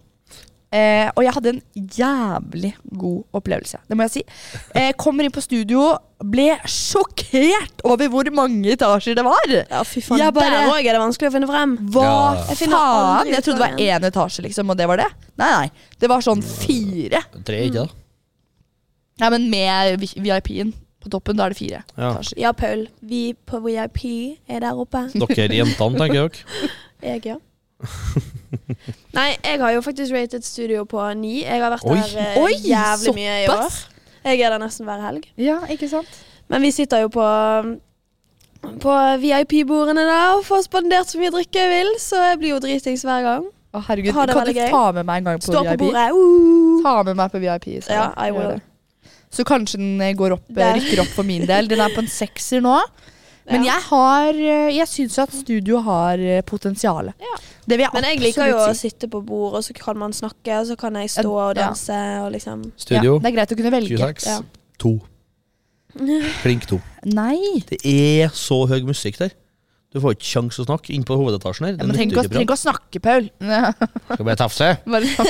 Speaker 3: Eh, og jeg hadde en jævlig god opplevelse, det må jeg si. Eh, kommer inn på studio, ble sjokkert over hvor mange etasjer det var.
Speaker 2: ja, fy faen.
Speaker 3: Jeg bare-
Speaker 2: Der òg er det vanskelig å finne frem.
Speaker 3: Hva
Speaker 1: Ja.
Speaker 2: Jeg finner
Speaker 3: faen?
Speaker 2: aldri
Speaker 3: Jeg trodde det var én etasje, liksom, og det var det? Nei, nei. Det var sånn fire.
Speaker 1: Tre, ikke
Speaker 3: Mm.
Speaker 1: det?
Speaker 3: Nei, men med vi- VIP-en på toppen, da er det fire
Speaker 1: Ja.
Speaker 3: etasjer.
Speaker 2: Ja, Paul. Vi på VIP er der oppe.
Speaker 1: Dere jentene, tenker dere.
Speaker 2: Jeg, ja. Nei, jeg har jo faktisk rated studio på ni. Jeg har vært
Speaker 1: Oi.
Speaker 2: der eh,
Speaker 3: Oi,
Speaker 2: jævlig mye i år.
Speaker 3: såpass?
Speaker 2: Jeg er der nesten hver helg.
Speaker 3: Ja, ikke sant?
Speaker 2: Men vi sitter jo på på VIP-bordene da og får spandert så mye drikke jeg vil, så jeg blir jo dritings hver gang.
Speaker 3: Å, herregud.
Speaker 2: Ha det
Speaker 3: Kan du
Speaker 2: veldig gøy.
Speaker 3: ta med meg en gang på
Speaker 2: Står på
Speaker 3: VIP?
Speaker 2: bordet. Uh.
Speaker 3: Ta med meg på VIP. så
Speaker 2: Ja,
Speaker 3: jeg
Speaker 2: I
Speaker 3: gjør
Speaker 2: will.
Speaker 3: det. Så kanskje den eh, går opp, eh,
Speaker 2: Der.
Speaker 3: rykker opp for min del. Den er på en sekser nå. Men
Speaker 2: Ja.
Speaker 3: jeg har eh, Jeg syns jo at studio har eh, potensial.
Speaker 2: Ja.
Speaker 3: Det vil jeg
Speaker 2: Men jeg
Speaker 3: absolutt
Speaker 2: liker jo å
Speaker 3: si.
Speaker 2: sitte på bord, og så kan man snakke, og så kan jeg stå og
Speaker 3: Ja.
Speaker 2: danse og liksom
Speaker 1: Studio
Speaker 3: Ja, det er greit å kunne velge.
Speaker 1: 26.
Speaker 2: Ja.
Speaker 1: To. Klink to.
Speaker 3: Nei.
Speaker 1: Det er så høy musikk der. Du får ikke kjangs å snakke inn på hovedetasjen her.
Speaker 3: Ja, men trenger ikke, å- trenger ikke å snakke, Paul.
Speaker 1: Skal bare tafse.
Speaker 3: Bare sånn.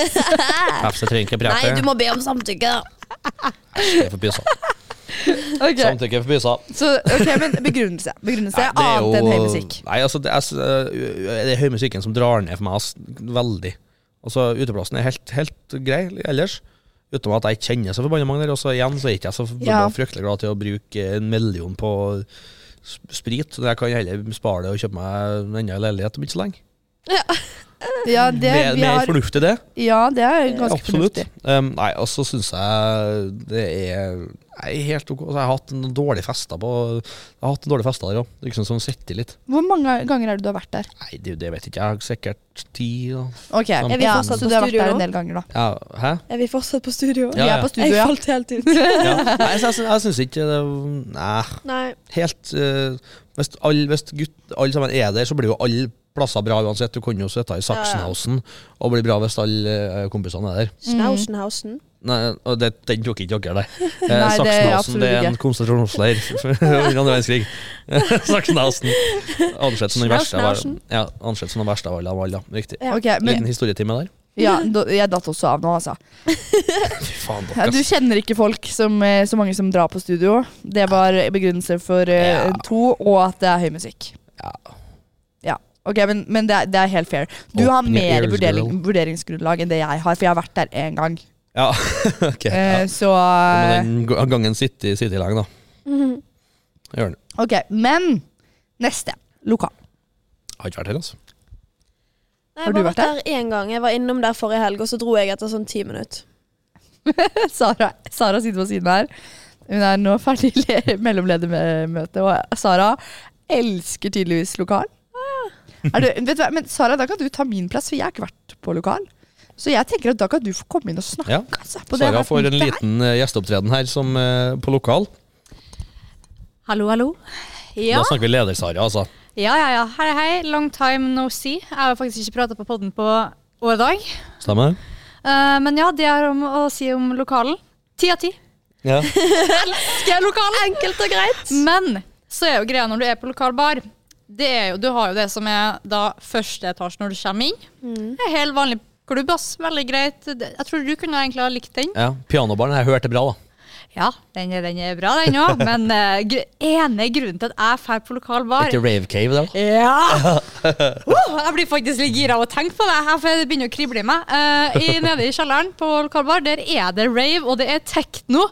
Speaker 1: Tafse trenger ikke prate.
Speaker 2: må be om samtykke.
Speaker 1: Det er for pysa.
Speaker 3: Ok.
Speaker 1: Samtykke er for pysa.
Speaker 3: Så, ok, men begrunnelse. Begrunnelse
Speaker 1: Sånn. Nei, det er
Speaker 3: annet
Speaker 1: jo-
Speaker 3: enn høy musikk.
Speaker 1: Nei, altså, det er, s- øh, det er høymusikken som drar ned for meg ass, veldig. Altså, Uteplassen er helt, helt grei ellers. Utenom at jeg kjenner så forbanna mange der. Og så igjen så er ikke jeg så forbanna
Speaker 3: Ja.
Speaker 1: fryktelig glad til å bruke en million på s- sprit. Så jeg kan heller spare det og kjøpe meg en annen leilighet om ikke så lenge.
Speaker 3: Ja, det,
Speaker 1: Mer,
Speaker 3: vi
Speaker 1: mer
Speaker 3: har,
Speaker 1: fornuft i det.
Speaker 3: ja, det er ganske
Speaker 1: Absolutt.
Speaker 3: fornuftig.
Speaker 1: Um, nei, og så syns jeg det er nei, helt ok. Altså, jeg har hatt en dårlig festa på Jeg har hatt en dårlig festa der òg. Liksom som sitter litt.
Speaker 3: Hvor mange ganger er det du har vært der?
Speaker 1: Nei, det, det vet jeg ikke. Jeg har sikkert ti ja.
Speaker 3: Ok,
Speaker 1: Er vi
Speaker 3: ja,
Speaker 2: fortsatt
Speaker 3: Så
Speaker 2: på
Speaker 3: du har vært
Speaker 2: studio
Speaker 3: der
Speaker 2: nå?
Speaker 3: en del ganger, da.
Speaker 1: ja. Hæ?
Speaker 2: Er vi fortsatt på studio?
Speaker 1: Ja,
Speaker 3: Vi
Speaker 1: ja.
Speaker 3: er på studio,
Speaker 2: Jeg
Speaker 3: ja.
Speaker 2: falt helt ut.
Speaker 1: Ja. Nei, så jeg, syns- jeg syns ikke det Nei,
Speaker 2: Nei.
Speaker 1: helt eh, Hvis, alle- hvis gutt, alle sammen er der, så blir jo alle plasser bra uansett. Du kunne jo sitte i Sachsenhausen og bli bra hvis alle eh, kompisene er der.
Speaker 2: Schnausenhausen.
Speaker 1: Nei, og det, den tok ikke dere, nei. Eh,
Speaker 3: Nei, det er
Speaker 1: Sachsenhausen det er
Speaker 3: absolutt
Speaker 1: en konsentrasjonsleir under andre verdenskrig. Sachsenhausen. Ansett som den verste av alle.
Speaker 2: Sachsenhausen.
Speaker 1: Ja, ansett som den verste av alle. av alle, ja. Riktig.
Speaker 2: Ja.
Speaker 3: Ok, men
Speaker 1: Liten historietime der.
Speaker 3: ja, da- Jeg datt også av nå, altså.
Speaker 1: Fy faen,
Speaker 3: Ja,
Speaker 1: dere.
Speaker 3: du kjenner ikke folk som, eh, så mange som drar på studio. Det var begrunnelse for eh,
Speaker 1: Ja.
Speaker 3: to, og at det er høy musikk.
Speaker 1: Ja.
Speaker 3: Ja, ok, Men, men det, er, det er helt fair. Du har
Speaker 1: Open your
Speaker 3: mer
Speaker 1: ears,
Speaker 3: vurdering,
Speaker 1: girl.
Speaker 3: vurderingsgrunnlag enn det jeg har, for jeg har vært der én gang.
Speaker 1: Ja, ok.
Speaker 3: Eh,
Speaker 1: Ja.
Speaker 3: Så
Speaker 1: Men den ga- gangen sitter sitter i lang, da.
Speaker 2: Eh. Mhm.
Speaker 1: Gjør den.
Speaker 3: Ok, men neste. Lokal.
Speaker 1: Har ikke vært her, altså.
Speaker 2: Nei,
Speaker 3: Har
Speaker 2: jeg
Speaker 3: du
Speaker 2: har
Speaker 3: vært
Speaker 2: vært der én gang. Jeg var innom der forrige helg, og så dro jeg etter sånn ti minutter.
Speaker 3: Sara, Sara sitter på siden her. Hun er nå ferdig le- mellomledermøte, og Sara elsker tydeligvis lokal.
Speaker 1: Ah.
Speaker 3: Er du, vet du hva, men Sara, da kan du ta min plass, for jeg har ikke vært på lokal. Så jeg tenker at da kan du få komme inn og snakke.
Speaker 1: Ja.
Speaker 3: Altså, på det
Speaker 1: Sara
Speaker 3: her
Speaker 1: får en
Speaker 3: punktet her.
Speaker 1: liten eh, gjesteopptreden her som, eh, på lokal.
Speaker 4: Hallo, hallo. Ja,
Speaker 1: Da snakker vi leder-Sara, altså.
Speaker 4: ja, ja. ja. Hei, hei. Long time no see. Jeg har faktisk ikke prata på podden på år og dag.
Speaker 1: Stemmer det?
Speaker 4: Eh, men ja, det er om å si om lokalen. Ti av ti.
Speaker 1: Ja.
Speaker 4: Elsker jeg lokalen!
Speaker 2: Enkelt og greit.
Speaker 4: Men så er jo greia når du er på lokal bar, det er jo, du har jo det som er da første etasje når du kommer inn. Det er helt vanlig klubb, ass. Veldig greit. Det- Jeg tror du kunne egentlig ha likt den.
Speaker 1: ja. Pianobaren her hørte bra, da.
Speaker 4: Ja, den, er- den er bra, den òg. Men eh, gr ene grunnen til at jeg drar på lokal bar
Speaker 1: Etter Rave Cave der, da.
Speaker 4: Ja! Oh, jeg blir faktisk litt gira av å tenke på det. her, for det begynner å krible i meg. Eh, i, nede i kjelleren på Lokalbar der er det rave, og det er tekno.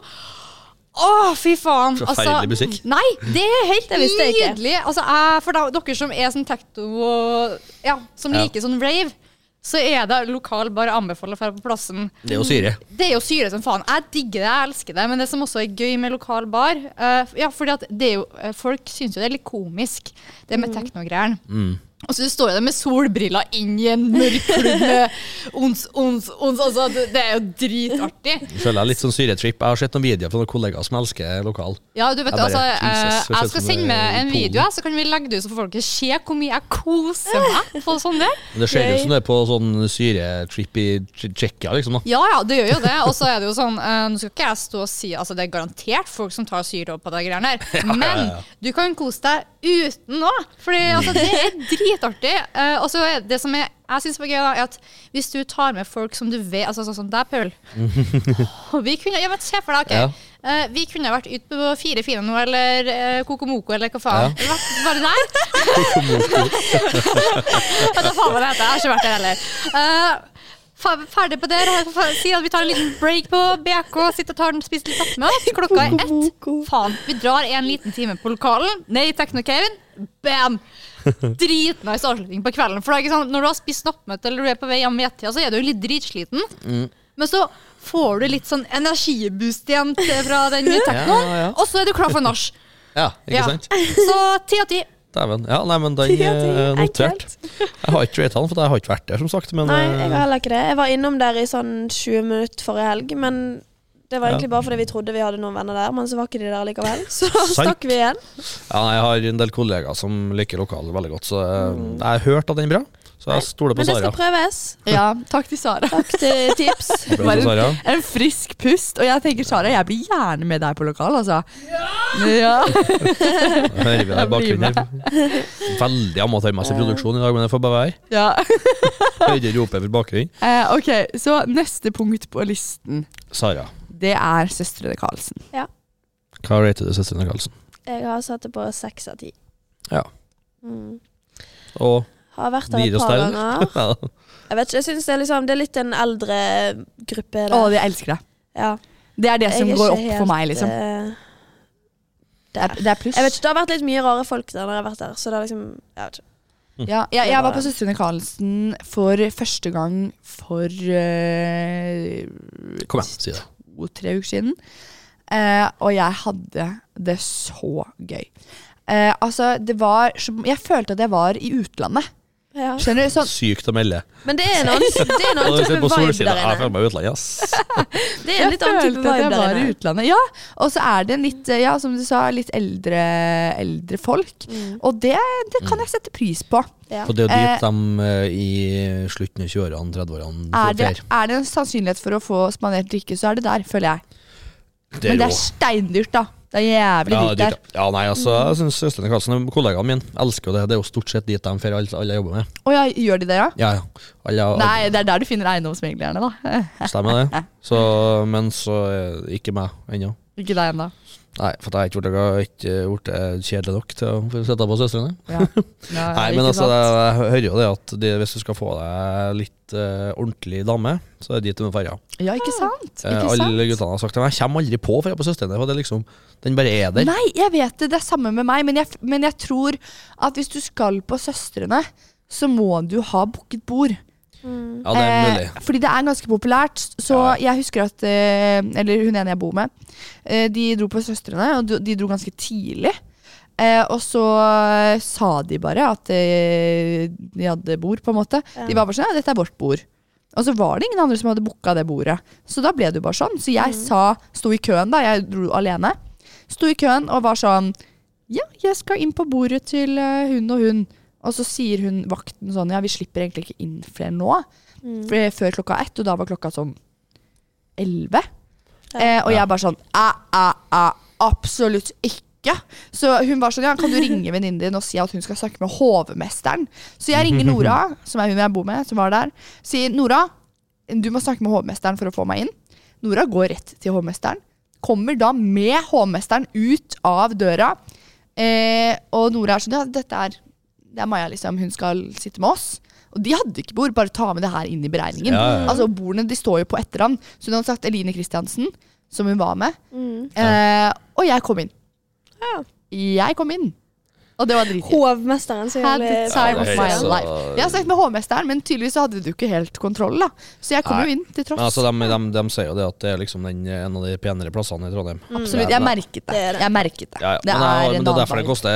Speaker 4: Å, fy faen! Altså,
Speaker 1: Forferdelig musikk.
Speaker 4: Nei, det er helt
Speaker 2: Det visste jeg ikke.
Speaker 4: nydelig. Altså, jeg- for da, dere som er sånn tekno og ja, som
Speaker 1: Ja.
Speaker 4: liker sånn rave, så er det lokal bare anbefaler å dra på plassen.
Speaker 1: Det er jo syre.
Speaker 2: Mm.
Speaker 4: Det er jo syre som faen. Jeg digger det, jeg elsker det. Men det som også er gøy med lokal bar eh, Ja, fordi at det er jo eh, Folk syns jo det er litt komisk, det med teknogreiene.
Speaker 1: Mm.
Speaker 4: Og så står jo det med solbriller inn i en mørk klubb med ons, ons, ons. Altså, det, det er jo dritartig.
Speaker 1: Jeg føler jeg litt sånn syretrip. Jeg har sett noen videoer fra noen kollegaer som elsker lokal.
Speaker 4: Ja, du
Speaker 1: Jeg
Speaker 4: vet,
Speaker 1: bare,
Speaker 4: altså,
Speaker 1: Jesus, det
Speaker 4: eh, jeg
Speaker 1: ser ut
Speaker 4: skal
Speaker 1: som
Speaker 4: sende
Speaker 1: det er
Speaker 4: med en
Speaker 1: i
Speaker 4: video,
Speaker 1: Polen.
Speaker 4: jeg, så kan vi legge det ut, så får folk se hvor mye jeg koser meg på sånn der.
Speaker 1: Men Det ser
Speaker 2: Gøy.
Speaker 1: ut som det er på sånn syretrip i Tsje- Tsjekkia, liksom. da
Speaker 4: Ja, ja, det gjør jo det. Og så er det jo sånn eh, Nå skal ikke jeg stå og si Altså, det er garantert folk som tar syre opp på de greiene her. Men du kan kose deg uten òg. For altså, det er dritartig. Eh, og så er det som jeg, jeg syns var gøy, da, er at hvis du tar med folk som du vet Altså sånn som deg, Paul. Og vi kunne Ja, men se for deg, OK.
Speaker 1: Ja.
Speaker 4: Eh, vi kunne vært ute på Fire fine nå, eller eh, Kokomoko, eller hva faen.
Speaker 1: Ja.
Speaker 4: Vært bare der. Vet da faen hva det heter. Jeg har ikke vært der heller. Eh, fa- ferdig på det. Jeg får Si at vi tar en liten break på BK. Sitter og tar den, spiser litt nattmat. Klokka er ett. Faen. Vi drar en liten time på lokalen, ned i Techno-caven. Bam! Dritnice avslutning på kvelden. For det er ikke sånn, Når du har spist nattmøte eller du er på vei hjem i ett-tida, så er du jo litt dritsliten.
Speaker 1: Mm.
Speaker 4: Men så får du litt sånn energiboost igjen til- fra den technoen,
Speaker 1: Ja, ja.
Speaker 4: og så er du klar for nach.
Speaker 1: Ja, ikke sant?
Speaker 4: Så ti av ti.
Speaker 1: Dæven. Ja, nei, men den
Speaker 2: Ja, det
Speaker 1: er
Speaker 2: er
Speaker 1: notert.
Speaker 2: enkelt.
Speaker 1: Jeg har ikke rate den, for jeg har ikke vært der, som sagt. Men
Speaker 2: Nei, jeg har
Speaker 1: eh,
Speaker 2: heller ikke det. Jeg var innom der i sånn 20 minutter forrige helg, men det var egentlig bare fordi vi trodde vi hadde noen venner der, men så var ikke de der likevel. Så
Speaker 1: Sant.
Speaker 2: stakk vi igjen.
Speaker 1: ja, jeg har en del kollegaer som liker lokal veldig godt, så eh, jeg har hørt at den er bra. Så jeg stoler på
Speaker 2: Men det
Speaker 1: Sara.
Speaker 2: skal prøves.
Speaker 3: Ja, takk til Sara.
Speaker 2: Takk til tips.
Speaker 1: Stoler på
Speaker 3: Bare-
Speaker 1: Sara.
Speaker 3: En frisk pust. Og jeg tenker, Sara, jeg blir gjerne med deg på lokal, altså. Ja!
Speaker 1: Hører vi deg i
Speaker 3: Jeg blir
Speaker 1: bakgrunnen her. Veldig amatørmessig produksjon i dag, men det får bare være.
Speaker 3: ja.
Speaker 1: Hører ropet fra bakgrunnen.
Speaker 3: Eh, ok, så neste punkt på listen,
Speaker 1: Sara,
Speaker 3: det er Søstrene Karlsen.
Speaker 1: hva rater du søstrene Karlsen?
Speaker 2: Jeg har satt det på seks av ti.
Speaker 1: Ja.
Speaker 2: Mm.
Speaker 1: Og
Speaker 2: Har vært der
Speaker 1: gir
Speaker 2: et
Speaker 1: oss
Speaker 2: par
Speaker 1: der,
Speaker 2: ganger.
Speaker 1: eller? Ja.
Speaker 2: Jeg vet ikke, jeg synes det er, liksom, det er litt en eldre gruppe.
Speaker 3: Å,
Speaker 2: Der.
Speaker 3: jeg elsker deg.
Speaker 2: Ja.
Speaker 3: Det er det som
Speaker 2: Jeg er
Speaker 3: går
Speaker 2: ikke
Speaker 3: opp for
Speaker 2: helt,
Speaker 3: meg, liksom.
Speaker 2: eh,
Speaker 3: Det er, det er pluss.
Speaker 2: Jeg vet ikke, Det har vært litt mye rare folk der når jeg har vært der. Så det er liksom, jeg vet
Speaker 3: Ja,
Speaker 2: ikke.
Speaker 3: jeg,
Speaker 2: Mm. Det
Speaker 3: jeg
Speaker 2: var
Speaker 3: var på
Speaker 2: det.
Speaker 3: Søstrene Karlsen for første gang for eh,
Speaker 1: Kom igjen, si det.
Speaker 3: to-tre uker siden. Eh, og jeg hadde det så gøy. Eh, altså, det var som Jeg følte at jeg var i utlandet.
Speaker 2: Ja.
Speaker 3: Skjønner du? Sånn,
Speaker 1: Sykt å melde.
Speaker 2: Men det er en annen, det er en
Speaker 1: Og
Speaker 2: annen
Speaker 1: du
Speaker 2: type
Speaker 1: sitter på
Speaker 2: vibe
Speaker 1: solsida.
Speaker 2: der
Speaker 1: Jeg
Speaker 2: inne.
Speaker 1: føler meg i utlandet, ass.
Speaker 2: Det er en litt annen type vibe
Speaker 3: jeg
Speaker 2: der
Speaker 3: var i
Speaker 2: inne.
Speaker 3: utlandet. Ja, og så er det en litt, eh, ja, som du sa, litt eldre, eldre folk.
Speaker 2: Mm.
Speaker 3: Og det, det kan jeg sette pris på.
Speaker 2: Ja.
Speaker 1: Og det er jo dit de eh, i slutten av 20-årene, 30-årene
Speaker 3: Er Ah, det,
Speaker 1: drar.
Speaker 3: er det en sannsynlighet for å få spandert drikke, så er det der, føler jeg.
Speaker 1: Det
Speaker 3: Men
Speaker 1: er
Speaker 3: det er
Speaker 1: jo
Speaker 3: steindyrt, da. Det er jævlig
Speaker 1: ja,
Speaker 3: dyrt
Speaker 1: dit,
Speaker 3: der.
Speaker 1: ja, nei, altså, jeg syns Øystein Karlsen og kollegaene mine elsker jo det. Det er jo stort sett dit de drar, alle, alle jeg jobber med.
Speaker 3: Å ja, gjør de det, ja?
Speaker 1: Ja, ja. Alle,
Speaker 3: Nei, det er der du finner eiendomsmeglerne, da.
Speaker 1: Stemmer det. Så, men så eh, ikke meg ennå.
Speaker 3: Ikke deg ennå.
Speaker 1: Nei, for jeg har ikke blitt- ikke blitt eh, kjedelig nok til å for å sitte på søstrene.
Speaker 3: Ja. Ja,
Speaker 1: Nei,
Speaker 3: ikke
Speaker 1: men altså,
Speaker 3: sant?
Speaker 1: jeg, jeg hører jo det at det, hvis du skal få deg litt eh, ordentlig dame, så er det dit du må dra.
Speaker 3: Ja, ikke sant?
Speaker 1: Eh,
Speaker 3: Ikke sant?
Speaker 1: alle guttene har sagt til meg Jeg kommer aldri på for jeg er på søstrene. For det er liksom, den bare er der.
Speaker 3: Nei, jeg vet det. Det er samme med meg. Men jeg, f- men jeg tror at hvis du skal på Søstrene, så må du ha booket bord.
Speaker 1: Ja, det er mulig.
Speaker 3: Eh, fordi det er ganske populært. s- Så jeg husker at eh, Eller hun ene jeg bor med, eh, de dro på Søstrene, og de- de dro ganske tidlig. Eh, og så eh, sa de bare at eh, de hadde bord, på en måte. De var bare sånn Ja, dette er vårt bord. Og så var det ingen andre som hadde booka det bordet. Så da ble det jo bare sånn. Så jeg sa, sto i køen, da. Jeg dro alene. Sto i køen og var sånn Ja, jeg skal inn på bordet til eh, hun og hun. Og så sier hun vakten sånn Ja, vi slipper egentlig ikke inn flere nå.
Speaker 2: Mm.
Speaker 3: For- eh, før klokka ett, og da var klokka sånn elleve.
Speaker 2: Ja.
Speaker 3: Eh, og jeg bare sånn æ, æ, æ, Absolutt ikke. Så hun var sånn ja, kan du ringe venninnen din og si at hun skal snakke med hovmesteren? Så jeg ringer Nora, som er hun jeg bor med, som var der. Sier Nora, du må snakke med hovmesteren for å få meg inn. Nora går rett til hovmesteren. Kommer da med hovmesteren ut av døra. Eh, og Nora er sånn ja, dette er, det er Maja, liksom. Hun skal sitte med oss. Og de hadde ikke bord, bare ta med det her inn i beregningen.
Speaker 1: Ja, ja, ja.
Speaker 3: Altså, Bordene de står jo på etterhånd. Så hun hadde sagt Eline Christiansen, som hun var med.
Speaker 2: Mm.
Speaker 3: Eh, og jeg kom inn.
Speaker 2: Ja.
Speaker 3: Jeg kom inn. Og det var dritgøy.
Speaker 2: Hovmesteren som sånn
Speaker 3: Had the
Speaker 2: jævlig-
Speaker 1: Ja,
Speaker 3: time
Speaker 1: det
Speaker 3: of my
Speaker 1: høres,
Speaker 3: life.
Speaker 1: altså-
Speaker 3: Jeg har snakket med hovmesteren, men tydeligvis så hadde du ikke helt kontroll. da Så jeg kom
Speaker 1: Nei.
Speaker 3: jo inn til tross.
Speaker 1: Men altså, de, de, de sier jo det at det er liksom den, eh, en av de penere plassene i Trondheim.
Speaker 3: Mm. Absolutt, Jeg
Speaker 1: men-
Speaker 3: merket det.
Speaker 2: Det er det.
Speaker 3: Jeg merket det.
Speaker 1: Ja, ja.
Speaker 3: Det
Speaker 1: men, jeg, har-
Speaker 3: en
Speaker 1: men det er
Speaker 3: annen
Speaker 1: derfor det
Speaker 3: vibe.
Speaker 1: koster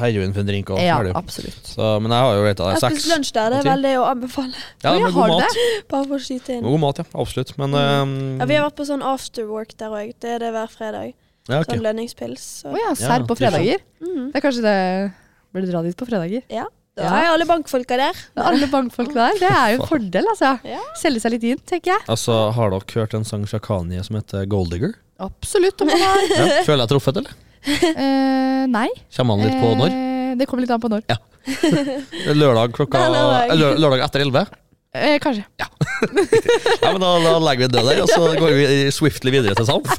Speaker 1: heroin for en drink. Og,
Speaker 3: Ja,
Speaker 1: ferdig.
Speaker 3: absolutt.
Speaker 1: så, men jeg har jo rata det
Speaker 2: Jeg
Speaker 1: seks.
Speaker 2: spiste lunsj der, det
Speaker 1: og ti.
Speaker 2: er vel det å anbefale.
Speaker 1: Ja,
Speaker 3: Ja,
Speaker 1: med
Speaker 3: har
Speaker 1: god
Speaker 3: det? Mm.
Speaker 1: mat.
Speaker 2: Bare for å skyte
Speaker 1: Med
Speaker 2: inn.
Speaker 1: god mat, ja. Absolutt. Men eh,
Speaker 2: Ja, vi har vært på sånn afterwork der òg. Det er det hver fredag.
Speaker 1: ja, ok.
Speaker 2: Sånn lønningspils.
Speaker 3: Å
Speaker 2: Så.
Speaker 3: ja, serr på
Speaker 1: det er sant.
Speaker 3: fredager.
Speaker 2: Mm.
Speaker 3: Det er kanskje det Burde dra dit på fredager.
Speaker 2: Ja. Da
Speaker 3: Ja.
Speaker 2: er alle bankfolka der.
Speaker 3: Alle bankfolk der. Det er jo en fordel, altså.
Speaker 2: Ja.
Speaker 3: Selge seg litt inn, tenker jeg.
Speaker 1: Altså, Har dere hørt en sang fra Kanye som heter Goldigger?
Speaker 3: Absolutt. Om man har
Speaker 1: Ja. Føler jeg truffet, eller?
Speaker 3: eh, Nei.
Speaker 1: Kommer han litt på når?
Speaker 3: Eh, Det kommer litt an på når.
Speaker 1: Lørdag klokka
Speaker 2: Det er lørdag.
Speaker 1: eh, lø- Lørdag etter 11?
Speaker 3: Eh, kanskje.
Speaker 1: Ja, men da, da legger vi det der, og så går vi swiftly videre til Samf.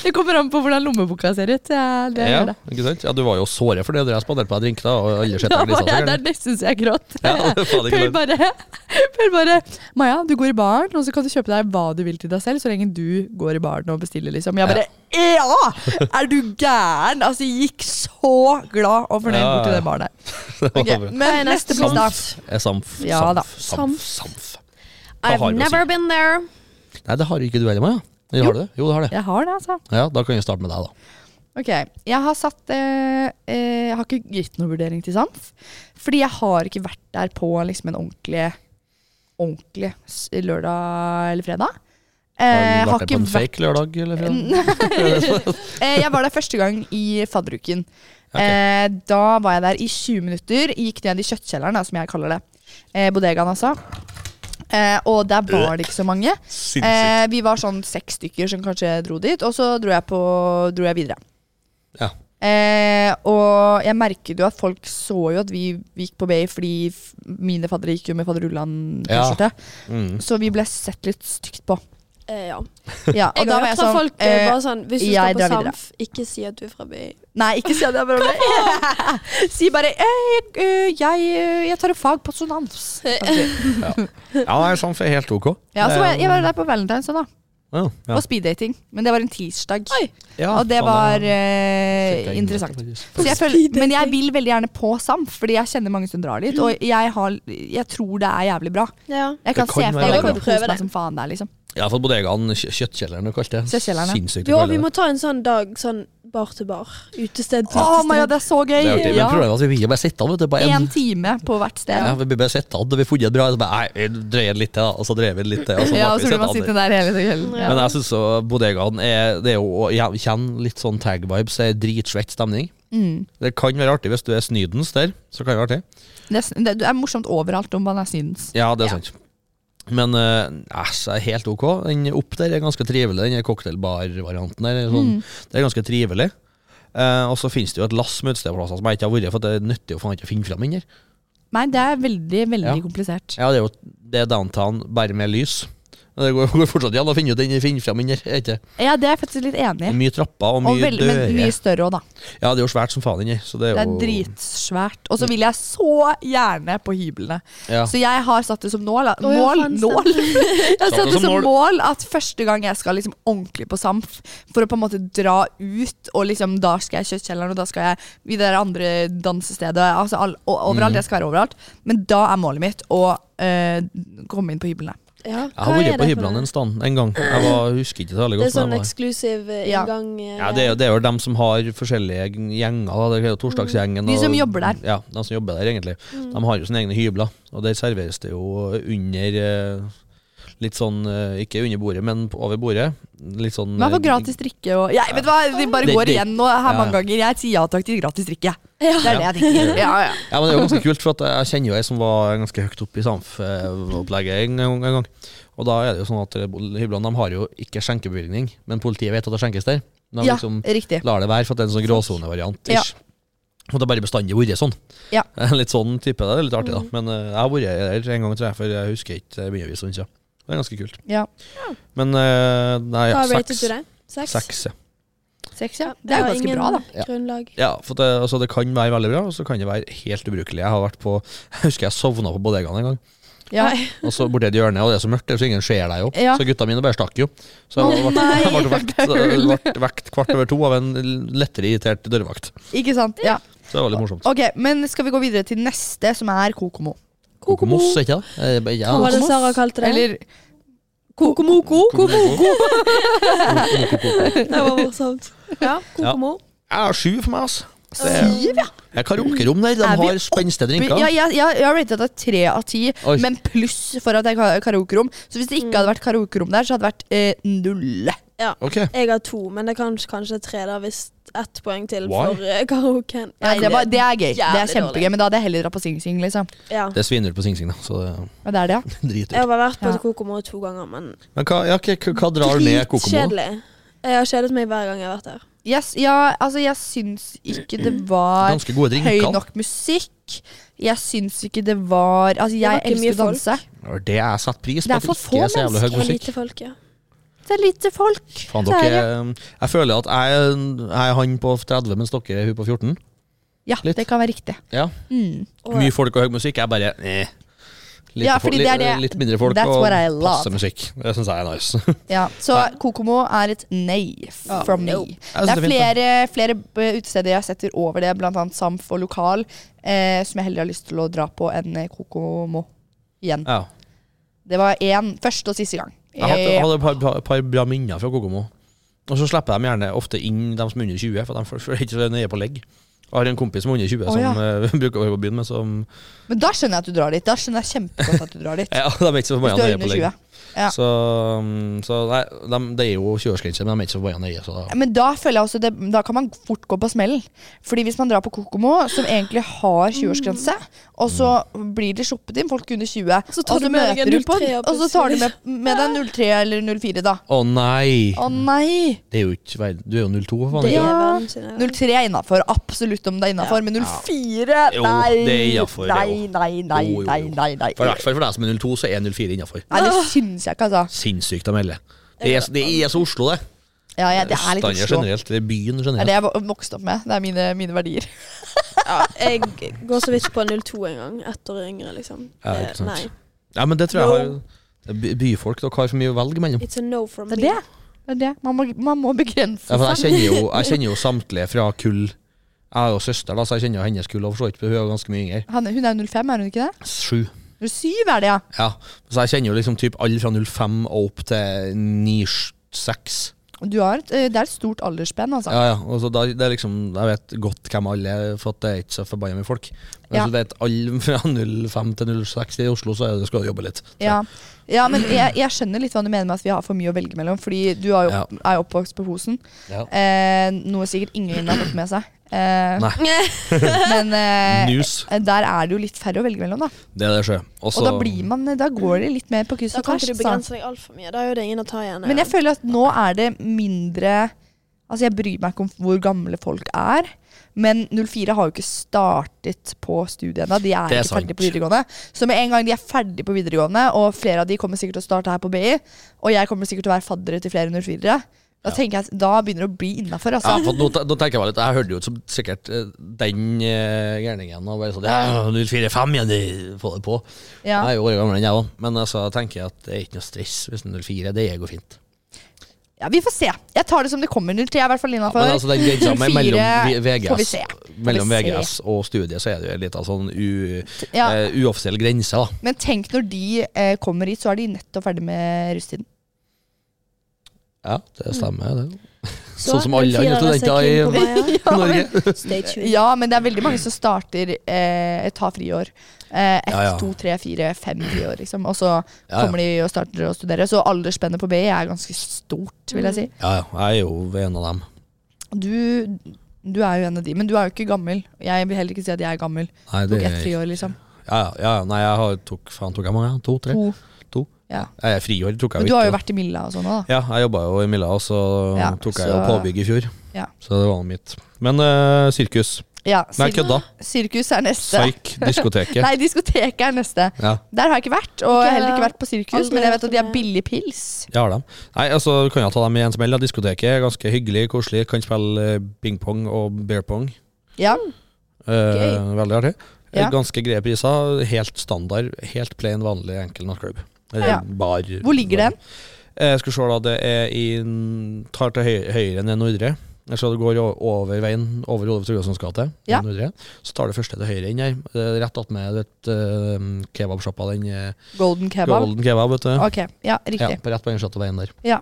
Speaker 3: Det kommer an på hvordan lommeboka ser ut. Ja, det
Speaker 1: Ja,
Speaker 3: gjør det.
Speaker 1: ikke sant? Ja, du var jo såret for det da jeg spanderte på deg drink, da, og alle skjønte
Speaker 3: Da
Speaker 1: glisa
Speaker 3: var jeg der,
Speaker 1: seg.
Speaker 3: det syns jeg gråt.
Speaker 1: Ja, det er faen ikke
Speaker 3: Per
Speaker 1: løgn.
Speaker 3: bare, Per bare Maja, du går i baren, og så kan du kjøpe deg hva du vil til deg selv, så lenge du går i baren og bestiller, liksom. Jeg bare Ja! Er du gæren? Altså, jeg gikk så glad og fornøyd
Speaker 1: Ja,
Speaker 3: bort til
Speaker 1: ja.
Speaker 3: den baren der.
Speaker 1: Det var
Speaker 3: Ok,
Speaker 1: bra.
Speaker 3: men neste plass, da.
Speaker 1: Eh, Samf,
Speaker 3: Ja, da.
Speaker 1: samf, samf, samf. Hva har
Speaker 4: I've
Speaker 1: du å
Speaker 4: never been there.
Speaker 1: Nei, det har jo ikke du heller, Maja. Jo, har du det? Jo, det har det.
Speaker 3: Jeg har det, altså.
Speaker 1: Ja, Da kan vi starte med deg, da.
Speaker 3: Ok, jeg har satt eh, eh, Jeg har ikke gitt noen vurdering til Sanf. Fordi jeg har ikke vært der på liksom, en ordentlig Ordentlig s- lørdag eller fredag. Eh,
Speaker 1: Har du
Speaker 3: har
Speaker 1: vært der
Speaker 3: ikke
Speaker 1: på en
Speaker 3: vært
Speaker 1: fake lørdag, eller?
Speaker 3: eh, Jeg var der første gang i fadderuken.
Speaker 1: Ok.
Speaker 3: Eh, da var jeg der i 20 minutter. Gikk ned i kjøttkjelleren, da, som jeg kaller det. Eh, bodegaen, altså. Eh, og der var det ikke så mange. Eh, vi var sånn seks stykker som kanskje dro dit, og så dro jeg, på, dro jeg videre.
Speaker 1: Ja.
Speaker 3: Eh, og jeg merket jo at folk så jo at vi, vi gikk på BI, fordi f- mine faddere gikk jo med fadderullan-T-skjorte.
Speaker 1: Mm.
Speaker 3: Så vi ble sett litt stygt på.
Speaker 2: Eh, ja.
Speaker 3: Ja, og
Speaker 2: Jeg
Speaker 3: da
Speaker 2: har
Speaker 3: var
Speaker 2: hørt
Speaker 3: jeg
Speaker 2: fra
Speaker 3: sånn
Speaker 2: folk eh,
Speaker 3: eh,
Speaker 2: bare sånn Hvis du
Speaker 3: jeg
Speaker 2: skal på
Speaker 3: drar videre.
Speaker 2: Samf, ikke si at du er fra by.
Speaker 3: Nei, ikke si at jeg er bra. si bare eh, jeg, eh, jeg, eh, jeg tar en fag på sonans.
Speaker 1: Ja, nei, Samf er helt ok.
Speaker 3: Ja, så var jeg, jeg var der på Valentine's også da.
Speaker 1: Ja, Um, ja.
Speaker 3: Og speeddating. Men det var en tirsdag.
Speaker 1: Ja,
Speaker 3: og det
Speaker 1: faen,
Speaker 3: var
Speaker 1: jeg-
Speaker 3: eh,
Speaker 1: fikk jeg
Speaker 3: interessant.
Speaker 1: innrømme, faktisk.
Speaker 3: Så jeg føler, men jeg vil veldig gjerne på SAMF, fordi jeg kjenner mange som drar dit. Og jeg, har, jeg tror det er jævlig bra.
Speaker 2: Ja.
Speaker 1: Det
Speaker 3: Jeg kan,
Speaker 1: kan
Speaker 3: se for
Speaker 1: være
Speaker 3: meg at
Speaker 1: bra.
Speaker 3: jeg kommer til å
Speaker 2: Prøve
Speaker 3: kose
Speaker 2: det.
Speaker 3: meg som faen der, liksom.
Speaker 1: Ja, for bodegaen, kjø- kjøttkjelleren og kalt det.
Speaker 3: Kjøttkjelleren, ja.
Speaker 1: Sinnssykt å
Speaker 2: Jo,
Speaker 1: kalle
Speaker 2: vi
Speaker 1: det.
Speaker 2: må ta en sånn dag, sånn bar til bar. Utested til
Speaker 3: Å, my god,
Speaker 2: utested.
Speaker 3: det er så gøy!
Speaker 1: Det er artig, men
Speaker 3: Ja.
Speaker 1: problemet er at vi vil jo bare sitte av, vet du. Bare en,
Speaker 3: En time på hvert sted.
Speaker 1: ja, vi blir bare sitte av, og vi har funnet et bra så bare, Nei, vi drøyer litt til, da. Og så dreier vi litt til. Og så
Speaker 3: Ja, og så
Speaker 1: ble vi
Speaker 3: blir man
Speaker 1: sittende.
Speaker 3: sittende der hele kvelden.
Speaker 2: Ja.
Speaker 1: Men jeg syns bodegaen er Det er jo jeg kjenner litt sånn tag-vibes. Det er dritsvett stemning.
Speaker 3: Mm.
Speaker 1: Det kan være artig hvis du er snydens der. Så kan det være artig.
Speaker 3: Det, er, sn- det det er morsomt overalt om man er synens.
Speaker 1: Ja, det er sant. Men uh, æsj, er helt ok. Den opp der er ganske trivelig, den cocktailbar-varianten der. Sånn. Det er ganske trivelig. Eh, og så finnes det jo et lass med utestedplasser som jeg ikke har vært i, for det nytter jo faen ikke å finne fram inni der.
Speaker 3: Nei, det er veldig, veldig
Speaker 1: Ja.
Speaker 3: komplisert.
Speaker 1: Ja, det er jo det er downtown, bare med lys. Men Det går, går fortsatt an å finne ut den finne fram inni der. er det ikke?
Speaker 3: Ja, det er jeg faktisk litt enig i.
Speaker 1: Mye trapper og mye
Speaker 3: Og veldig, men
Speaker 1: dører.
Speaker 3: mye større òg, da.
Speaker 1: Ja, det er jo svært som faen inni. Så det er
Speaker 3: Det er
Speaker 1: jo
Speaker 3: dritsvært. Og så vil jeg så gjerne på hyblene.
Speaker 1: Ja.
Speaker 3: Så jeg har satt det som nål. da.
Speaker 2: Å, ja,
Speaker 3: Nål!
Speaker 2: faen, stemmer.
Speaker 3: Nål! Jeg har
Speaker 1: Satt
Speaker 3: satt
Speaker 1: det
Speaker 3: det
Speaker 1: som
Speaker 3: som
Speaker 1: mål.
Speaker 3: mål at første gang jeg skal liksom ordentlig på SAMF, for å på en måte dra ut, og liksom da skal jeg i kjøttkjelleren, og da skal jeg i det der andre dansestedet, altså all, og,
Speaker 1: Mm.
Speaker 3: overalt. Jeg skal være overalt. Men da er målet mitt å eh, komme inn på hyblene.
Speaker 2: Ja,
Speaker 1: Jeg har
Speaker 2: hva er
Speaker 1: vært på
Speaker 2: det for
Speaker 1: hyblene
Speaker 2: noe?
Speaker 1: en stand en gang. Jeg var, husker ikke så veldig
Speaker 2: Det er
Speaker 1: godt.
Speaker 2: sånn
Speaker 1: men jeg var-
Speaker 2: eksklusiv eh,
Speaker 3: Ja.
Speaker 2: inngang. eh,
Speaker 1: Ja, det er, jo, det er jo dem som har forskjellige gjenger. Da. Det er jo torsdagsgjengen.
Speaker 3: Mm. De som
Speaker 1: og-
Speaker 3: jobber der. Mm.
Speaker 1: Ja, de som jobber der egentlig. De har jo sine egne hybler, og der serveres det jo under eh, Litt sånn, eh, ikke under bordet, men på- over bordet. Litt sånn
Speaker 3: Men jeg får
Speaker 1: eh,
Speaker 3: gratis drikke og jeg, Vet du hva, de bare
Speaker 1: Det-
Speaker 3: går
Speaker 1: det-
Speaker 3: igjen nå her mange
Speaker 1: ja.
Speaker 3: ganger. Jeg sier ja takk til gratis drikke.
Speaker 2: Ja.
Speaker 3: Det er det jeg tenker. Ja, ja.
Speaker 1: Ja, men Det er jo ganske kult, for at jeg kjenner jo ei som var ganske høyt oppe i SAMF-opplegget en, gang- en gang. Og da er det jo sånn at hyblene de har jo ikke skjenkebevilgning, men politiet vet at det skjenkes der. De
Speaker 3: ja
Speaker 1: liksom
Speaker 3: riktig.
Speaker 1: lar det være, for at det er en sånn gråsonevariant. ish. Og det har bare bestandig vært sånn.
Speaker 3: Ja. Mm.
Speaker 1: Litt sånn type. Det er litt artig, da. Men eh, jeg har vært der en gang, tror jeg, for jeg husker ikke. eh, Det begynner å bli en stund siden. Det er ganske kult.
Speaker 3: Ja.
Speaker 1: Men eh, nei, ja,
Speaker 2: Hva rated
Speaker 1: seks.
Speaker 2: du det? Seks?
Speaker 1: Seks, ja.
Speaker 3: Seks, ja. Det er jo ganske bra, da.
Speaker 1: Ja.
Speaker 2: Grunnlag.
Speaker 1: ja for det, altså, det kan være veldig bra, og så kan det være helt ubrukelig. Jeg har vært på Jeg husker jeg sovna på bodegaen en gang.
Speaker 3: Ja.
Speaker 2: Nei.
Speaker 1: Og så borti et hjørne, og det er så mørkt, så ingen ser deg jo.
Speaker 3: Ja.
Speaker 1: Så gutta mine bare stakk jo. Så jeg ble, jeg ble, vekt, ble vekt kvart over to av en lettere irritert dørvakt.
Speaker 3: Ikke sant? Ja.
Speaker 1: Så det var litt morsomt.
Speaker 3: Ok, men skal vi gå videre til neste, som er Kokomo?
Speaker 1: Kokomo. Moss, ikke det? Eh, bare- Ja.
Speaker 2: Hva var det Sara kalte det?
Speaker 3: Eller Kokomoko?
Speaker 1: Kokomoko.
Speaker 2: Det var morsomt. Ja, Kokomo.
Speaker 1: Jeg har sju for meg, altså.
Speaker 3: Syv, ja.
Speaker 1: Jeg karaokerom der, de
Speaker 3: Er vi
Speaker 1: har spenstige drinker.
Speaker 3: ja jeg, jeg, jeg har ratet det tre av ti,
Speaker 1: Oi.
Speaker 3: men pluss for at det er ka- karaokerom. Så hvis det ikke hadde vært karaokerom der, så hadde det vært eh, null.
Speaker 1: Ok.
Speaker 2: Jeg har to, men det er kanskje, kanskje tre da, hvis ett poeng til
Speaker 1: Why?
Speaker 2: for eh, karaoken.
Speaker 3: Nei, det, var, det er gøy. Det er
Speaker 2: jævlig
Speaker 3: kjempegøy, men da hadde jeg heller dratt på Sing Sing, liksom.
Speaker 2: Ja.
Speaker 1: Det svinner på Sing Sing, da, så
Speaker 3: Ja, det er det, ja.
Speaker 1: det driter
Speaker 2: Jeg
Speaker 1: jeg i.
Speaker 2: har bare vært på
Speaker 3: Ja.
Speaker 2: Kokomo to ganger, men
Speaker 1: Men hva, ja, ok, hva, hva drar ned Kokomo?
Speaker 2: dritkjedelig. Jeg har kjedet meg hver gang jeg har vært der.
Speaker 3: Yes, ja, altså jeg syns ikke det
Speaker 1: Mm.
Speaker 3: var
Speaker 1: Ganske gode
Speaker 3: høy
Speaker 1: drinker. da.
Speaker 3: nok musikk. Jeg syns ikke det var Altså,
Speaker 2: var
Speaker 3: jeg
Speaker 2: ikke mye
Speaker 3: elsker å danse.
Speaker 1: Det er det jeg setter pris på.
Speaker 3: Det er
Speaker 1: at
Speaker 3: for
Speaker 1: ikke er så
Speaker 3: få
Speaker 1: jævlig høy
Speaker 2: Det var
Speaker 1: musikk.
Speaker 2: lite folk, ja.
Speaker 3: Det er lite folk.
Speaker 1: Faen,
Speaker 3: Det er det.
Speaker 1: dere, ehm, jeg føler at jeg, jeg er han på 30, mens dere er hun på 14.
Speaker 3: Ja,
Speaker 1: Litt.
Speaker 3: det kan være riktig.
Speaker 1: Ja.
Speaker 3: Mm.
Speaker 2: Og-
Speaker 1: Mye folk og høy musikk. Jeg bare eh. Litt,
Speaker 3: Ja,
Speaker 1: fol-
Speaker 3: fordi det er
Speaker 1: litt-
Speaker 3: det-
Speaker 1: litt mindre folk
Speaker 3: that's
Speaker 1: og
Speaker 3: what I love.
Speaker 1: passe musikk. Det syns jeg er nice.
Speaker 3: Ja, så Kokomo er et nei f-
Speaker 2: Ah,
Speaker 1: Ja.
Speaker 3: from me.
Speaker 1: Jo. Jeg synes
Speaker 3: Det er
Speaker 1: det er
Speaker 3: flere, flere b- utesteder jeg setter over det, blant annet Samf og Lokal, eh, som jeg heller har lyst til å dra på enn eh, Kokomo igjen.
Speaker 1: Ja.
Speaker 3: Det var én første og siste gang.
Speaker 1: Jeg hadde,
Speaker 3: Eh,
Speaker 1: hadde et par, par, par bra minner fra Kokomo. Og så slipper de gjerne ofte inn de som er under 20, for de får- får ikke så nøye på legg. Jeg har en kompis som er under 20
Speaker 3: Å,
Speaker 1: som
Speaker 3: ja.
Speaker 1: eh, bruker å være på byen med, som
Speaker 3: Men da skjønner jeg at du drar dit. Da skjønner jeg kjempegodt at du drar dit.
Speaker 1: Ja, de er ikke så
Speaker 3: Hvis
Speaker 1: forbanna
Speaker 3: du er
Speaker 1: nøye på
Speaker 3: under
Speaker 1: legg.
Speaker 3: 20. ja.
Speaker 1: Så, mm, så nei, de, det er jo 20-årsgrense, men de er ikke så forbanna nøye. Så da.
Speaker 3: Men da føler jeg også det, da kan man fort gå på smellen. Fordi hvis man drar på Kokomo, som egentlig har 20-årsgrense,
Speaker 1: Mm.
Speaker 3: og så blir det sluppet inn folk under 20,
Speaker 2: Så tar
Speaker 3: og,
Speaker 2: du
Speaker 3: så
Speaker 2: med deg en
Speaker 3: møter du på,
Speaker 2: 03
Speaker 3: og så tar du med, med deg 03 eller 04, da.
Speaker 1: Å nei!
Speaker 3: Å nei!
Speaker 1: Det er jo ikke verd- Du er jo 02, for faen.
Speaker 2: Det
Speaker 1: ikke?
Speaker 2: er
Speaker 3: Ja.
Speaker 2: verden sin, ja.
Speaker 3: 03 er innafor, absolutt om det er innafor, men 04
Speaker 1: Jo,
Speaker 3: Nei,
Speaker 1: det er innenfor, det
Speaker 3: nei,
Speaker 1: jo.
Speaker 3: nei, nei,
Speaker 1: Jo, jo, jo.
Speaker 3: nei, nei, nei.
Speaker 1: For I hvert fall for deg som er 02, så er 04 innafor.
Speaker 3: Nei, det syns jeg ikke, altså.
Speaker 1: Sinnssykt å melde. Det er, det er så Oslo, det.
Speaker 3: Ja, ja, det er litt
Speaker 1: Østlandet
Speaker 3: Oslo. Det
Speaker 1: generelt. Det er byen
Speaker 3: er
Speaker 1: generelt.
Speaker 3: det jeg vok- vokste opp med. Det er mine, mine verdier.
Speaker 2: Ja, jeg går så vidt på 02 en gang. Ett år yngre, liksom.
Speaker 1: Ja,
Speaker 2: Det-
Speaker 1: ikke sant.
Speaker 2: Nei.
Speaker 1: Ja, men det tror jeg har
Speaker 2: No.
Speaker 1: det er by- Byfolk dere har for mye å velge mellom.
Speaker 2: It's a no from
Speaker 3: Det
Speaker 2: me.
Speaker 3: er det. det, er det. Man, må, man må begrense
Speaker 1: Ja, for jeg,
Speaker 3: seg.
Speaker 1: kjenner jo, jeg kjenner jo samtlige fra kull Jeg har jo søster, da, så jeg kjenner jo hennes kull. Og for så vidt, hun er jo ganske mye yngre.
Speaker 3: Han, hun er jo 05, er hun ikke det?
Speaker 1: Sju.
Speaker 3: 07 er det, ja.
Speaker 1: Ja. Så jeg kjenner jo liksom typ alle fra 05 og opp til 96.
Speaker 3: Du har et, eh, det er et stort aldersspenn, altså.
Speaker 1: Ja, ja. Og så da, det er liksom, jeg vet godt hvem alle er, for at det er ikke så forbanna mye folk. Men
Speaker 3: Ja.
Speaker 1: så det er et all fra 05 til 06 i Oslo, så er det, skal du jobbe litt. Så.
Speaker 3: Ja, ja men jeg, jeg skjønner litt hva du mener med at vi har for mye å velge mellom. Fordi du er jo,
Speaker 1: Ja.
Speaker 3: er jo oppvokst på Fosen,
Speaker 1: Ja.
Speaker 3: eh, noe sikkert ingen har fått med seg. Eh,
Speaker 1: Nei.
Speaker 3: men eh,
Speaker 1: News.
Speaker 3: der er det jo litt færre å velge mellom, da.
Speaker 1: Det er det sjø.
Speaker 3: Og da, blir man, eh, da går det litt mer på kryss
Speaker 2: Da
Speaker 3: og
Speaker 2: kan
Speaker 3: tvers.
Speaker 2: ikke du
Speaker 3: sant?
Speaker 2: begrense deg altfor mye. Da er jo det ingen å ta igjen.
Speaker 3: altså. Men jeg føler at nå er det mindre Altså jeg bryr meg ikke om hvor gamle folk er. Men 04 har jo ikke startet på studiet ennå. De er,
Speaker 1: Det er
Speaker 3: ikke ferdig
Speaker 1: sant.
Speaker 3: på videregående. Så med en gang de er ferdig på videregående, og flere av de kommer sikkert til å starte her på BI, og jeg kommer sikkert til å være faddere til flere 04 da tenker jeg at da begynner det å bli innafor.
Speaker 1: Ja,
Speaker 3: Altså.
Speaker 1: for nå, te- nå tenker jeg meg litt Jeg hørte jo ut som sikkert eh, den eh, gærningen og bare sånn Ja, 045 igjen, de får det på.
Speaker 3: Ja.
Speaker 1: Jeg er jo året gammel enn jeg òg, men altså, jeg tenker at det er ikke noe stress hvis det er 04. Det går fint.
Speaker 3: Ja, vi får se. Jeg tar det som det kommer. 03 er i hvert fall
Speaker 1: Ja, men
Speaker 3: innafor.
Speaker 1: altså, den grensa med
Speaker 3: 04
Speaker 1: mellom V-
Speaker 3: får vi
Speaker 1: VGS,
Speaker 3: se.
Speaker 1: mellom
Speaker 3: Får vi se.
Speaker 1: VGS og studiet, så er det jo en liten sånn u,
Speaker 3: Ja.
Speaker 1: eh, uoffisiell grense, da.
Speaker 3: Men tenk når de eh, kommer hit, så er de nettopp ferdig med russetiden.
Speaker 1: Ja, det stemmer, det.
Speaker 2: Så,
Speaker 1: sånn som alle
Speaker 2: den
Speaker 1: andre
Speaker 2: fireren er
Speaker 1: studenter i
Speaker 2: så keen på meg, ja.
Speaker 1: Norge.
Speaker 2: Stay tuned.
Speaker 3: Ja, men det er veldig mange som starter eh, tar friår. Eh, ett,
Speaker 1: Ja, ja.
Speaker 3: to, tre, fire, fem friår, liksom. Og så
Speaker 1: Ja, ja.
Speaker 3: kommer de og starter å studere. Så aldersspennet på BI er ganske stort, vil jeg si.
Speaker 1: Ja, ja. Jeg er jo en av dem.
Speaker 3: Du, du er jo en av de, men du er jo ikke gammel. Jeg vil heller ikke si at jeg er gammel.
Speaker 1: Nei, det,
Speaker 3: Tok ett friår, liksom.
Speaker 1: ja, ja, ja, nei, jeg har, tok faen tok jeg mange? To, tre?
Speaker 3: To.
Speaker 1: To.
Speaker 3: Ja.
Speaker 1: Jeg er friår, tok jeg
Speaker 3: Men du har
Speaker 1: ikke,
Speaker 3: jo
Speaker 1: da.
Speaker 3: vært i Milla og sånn òg, da.
Speaker 1: Ja, jeg jobba jo i Milla, og så
Speaker 3: Ja,
Speaker 1: tok jeg
Speaker 3: så-
Speaker 1: jo påbygg i fjor.
Speaker 3: Ja.
Speaker 1: Så det var mitt. Men eh, sirkus.
Speaker 3: Ja,
Speaker 1: Nei,
Speaker 3: sir-
Speaker 1: kødda.
Speaker 3: sirkus er neste.
Speaker 1: Psyk. Diskoteket.
Speaker 3: Nei, diskoteket er neste.
Speaker 1: Ja,
Speaker 3: Der har jeg ikke vært, og
Speaker 2: Ikke-
Speaker 3: heller ikke vært på sirkus,
Speaker 2: aldri
Speaker 3: men jeg vet at de
Speaker 2: vært
Speaker 3: har billig pils.
Speaker 1: jeg har dem. Nei, altså, kan jeg ta dem i en smell? da? Diskoteket er ganske hyggelig, koselig. Kan spille eh, ping-pong og bear-pong.
Speaker 3: Ja.
Speaker 1: Eh, veldig artig. Eh,
Speaker 3: Ja.
Speaker 1: Ganske greie priser. Helt standard, helt plain vanlig enkel nattklubb. Eller
Speaker 3: Ja.
Speaker 1: bar.
Speaker 3: Hvor ligger den?
Speaker 1: Eh, skal se, da. Det er i n- Tar til høyre, høyre ned Nordre. Eller Så du går o- over veien over Olav Tryggvasons gate.
Speaker 3: Ja.
Speaker 1: ned Nordre. Så tar du første til høyre inn her. Eh, Rett attmed vet, eh, kebabsjappa. Den eh,
Speaker 3: Golden kebab.
Speaker 1: Golden Kebab, vet du.
Speaker 3: Ok, ja,
Speaker 1: Ja,
Speaker 3: riktig.
Speaker 1: på rett på den skjøtte veien der.
Speaker 3: Ja.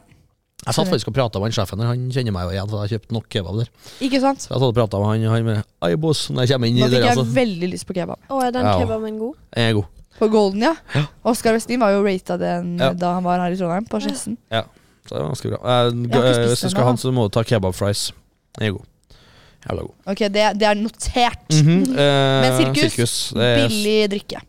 Speaker 1: Jeg satt faktisk og prata med han sjefen der. Han kjenner meg jo igjen, for jeg har kjøpt nok kebab der.
Speaker 3: Ikke sant?
Speaker 1: Så jeg satt og pratet med han, og han med Ai, boss, når jeg kommer inn
Speaker 3: Nå
Speaker 1: i altså.
Speaker 3: fikk
Speaker 1: døra,
Speaker 3: jeg
Speaker 1: så
Speaker 3: veldig lyst på kebab.
Speaker 2: Å, er den
Speaker 1: Ja.
Speaker 2: kebaben god?
Speaker 1: Jeg er god.
Speaker 3: På Golden, ja. Oskar Westin var jo rata den
Speaker 1: Ja.
Speaker 3: da han var her i Trondheim, på Skjessen.
Speaker 1: Så det var ganske bra. Eh,
Speaker 3: Jeg har ikke
Speaker 1: eh,
Speaker 3: spist
Speaker 1: hvis du
Speaker 3: den
Speaker 1: skal ha
Speaker 3: ennå,
Speaker 1: den, så må du ta kebab fries. Den er god. Jævla god.
Speaker 3: Ok, det, det er notert.
Speaker 1: Eh,
Speaker 3: Mhm. Men sirkus,
Speaker 1: det er
Speaker 3: Billig drikke.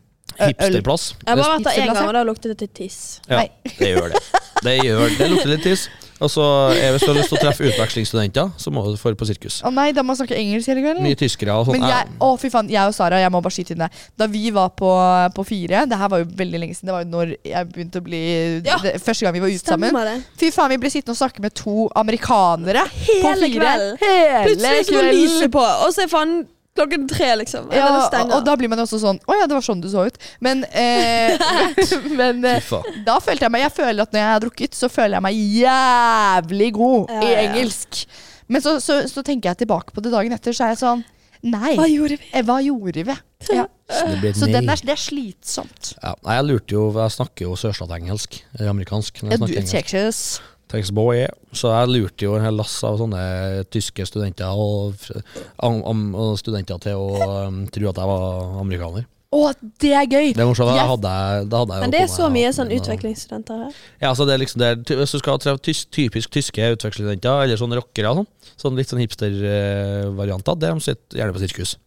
Speaker 3: Ø- Øl.
Speaker 1: hipsterplass.
Speaker 2: Jeg har bare vært der
Speaker 3: Pizzaplass,
Speaker 2: én gang,
Speaker 3: ja.
Speaker 2: og da luktet det til tiss.
Speaker 1: Ja,
Speaker 3: Nei.
Speaker 1: det gjør det. Det gjør det. lukter litt tiss. Og så eh, Hvis du har lyst til å treffe utvekslingsstudenter, så må du få på sirkus.
Speaker 3: Å nei, da må man snakke engelsk hele kvelden.
Speaker 1: Mye tyskere og sånn.
Speaker 3: Mm. Men jeg, å fy faen, jeg og Sara, jeg må bare skyte inn det. Da vi var på, på fire, det her var jo veldig lenge siden, det var jo når jeg begynte å bli
Speaker 2: Ja.
Speaker 3: det, Første gang vi var ute sammen.
Speaker 2: Stemmer det?
Speaker 3: Fy faen, vi ble sittende og snakke med to amerikanere på
Speaker 2: Hele
Speaker 3: fire.
Speaker 2: kvelden.
Speaker 3: Hele
Speaker 2: Plutselig så var
Speaker 3: kvelden.
Speaker 2: lyset på, og så er faen klokken tre, liksom. Eller det
Speaker 3: Ja, og,
Speaker 2: stenger.
Speaker 3: og da blir man jo også sånn Å ja, det var sånn du så ut. Men, eh, men eh,
Speaker 1: Fy faen.
Speaker 3: da følte jeg meg Jeg føler at når jeg har drukket, så føler jeg meg jævlig god
Speaker 2: Ja,
Speaker 3: i
Speaker 2: ja, ja.
Speaker 3: engelsk. Men så, så, så tenker jeg tilbake på det dagen etter, så er jeg sånn Nei,
Speaker 2: Hva gjorde vi?
Speaker 3: eh, hva gjorde vi? Ja.
Speaker 1: Så det blir
Speaker 3: Så den
Speaker 1: nei.
Speaker 3: er, det er slitsomt.
Speaker 1: ja, nei, jeg lurte jo Jeg snakker jo sørstatsengelsk. Eller amerikansk. når
Speaker 3: Ja,
Speaker 1: Jeg
Speaker 3: du,
Speaker 1: snakker engelsk.
Speaker 3: Texas.
Speaker 1: Thanks, boy. Så jeg lurte jo en hel lass av sånne tyske studenter og, fr- am, am, og studenter til å um, tro at jeg var amerikaner.
Speaker 3: Å, det er gøy!
Speaker 1: Det er morsomt.
Speaker 3: Yes.
Speaker 1: Da hadde jeg, da hadde jeg jo
Speaker 2: Men det er
Speaker 1: på
Speaker 2: så
Speaker 1: meg-
Speaker 2: mye sånn utviklingsstudenter her.
Speaker 1: Ja, så det er liksom det, er ty- Hvis du skal treffe tys, typisk tyske utvekslingsstudenter, eller sånne rockere og sånn, sånn litt sånn hipster-varianter, det de sitter gjerne på sirkus.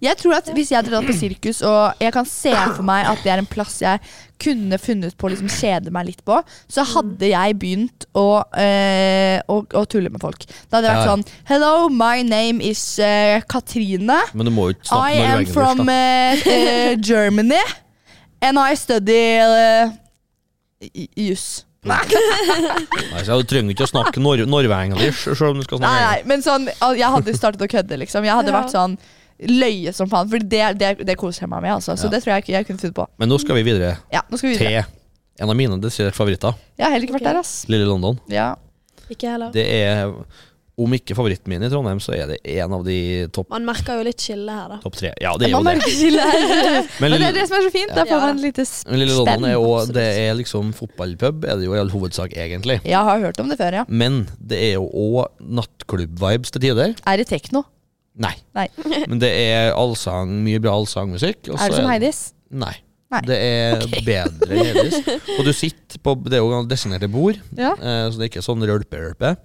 Speaker 3: Jeg tror at Hvis jeg hadde dratt på sirkus, og jeg kan se for meg at det er en plass jeg kunne funnet på å liksom kjede meg litt på, så hadde jeg begynt å, eh, å, å tulle med folk. Da hadde jeg vært
Speaker 1: Ja, ja.
Speaker 3: sånn Hello, my name is eh, Katrine.
Speaker 1: Men du må jo ikke
Speaker 3: I
Speaker 1: snakke
Speaker 3: am
Speaker 1: norrøngersk,
Speaker 3: from
Speaker 1: da.
Speaker 3: eh, eh, Germany. And I study eh, i- i- juss.
Speaker 1: Nei, så du trenger ikke å snakke nor norrøngersk, selv om du skal
Speaker 3: Nei,
Speaker 1: snakke
Speaker 3: nei, men sånn, al- jeg hadde startet å kødde, liksom. Jeg hadde
Speaker 2: Ja.
Speaker 3: vært sånn løye som faen. For det, det, det koser jeg meg med, altså. Så
Speaker 1: Ja.
Speaker 3: det tror jeg ikke jeg kunne funnet på.
Speaker 1: Men nå skal vi videre
Speaker 3: Ja, nå skal vi videre.
Speaker 1: til en av mine desidert favoritter,
Speaker 3: Jeg har heller ikke
Speaker 2: Ok.
Speaker 3: vært der, ass.
Speaker 1: Lille London.
Speaker 3: Ja.
Speaker 2: Ikke heller.
Speaker 1: Det er om ikke favoritten min i Trondheim, så er det en av de topp
Speaker 2: Man merker jo litt skille her, da.
Speaker 1: topp tre. Ja, det er jo
Speaker 3: Man
Speaker 1: det.
Speaker 3: merker skille her.
Speaker 1: Men
Speaker 3: Men det
Speaker 1: Lille-
Speaker 3: er det som er så fint. Da
Speaker 2: Ja.
Speaker 3: får man et lite s-
Speaker 1: Men Lille London er jo
Speaker 3: Stemmer,
Speaker 1: Det er liksom fotballpub, er det jo i all hovedsak, egentlig.
Speaker 3: Jeg har hørt om det før, ja.
Speaker 1: Men det er jo òg nattklubb-vibes til tider.
Speaker 3: Er det tekno?
Speaker 1: Nei.
Speaker 3: Nei.
Speaker 1: Men det er allsang, mye bra allsangmusikk. og så
Speaker 3: Er det som
Speaker 1: er-
Speaker 3: Heidis?
Speaker 1: Nei.
Speaker 3: Nei.
Speaker 1: Det er bedre enn Heidis. Og du sitter på Det er jo designerte bord,
Speaker 3: Ja.
Speaker 1: eh, så det er ikke sånn rølpe-rølpe.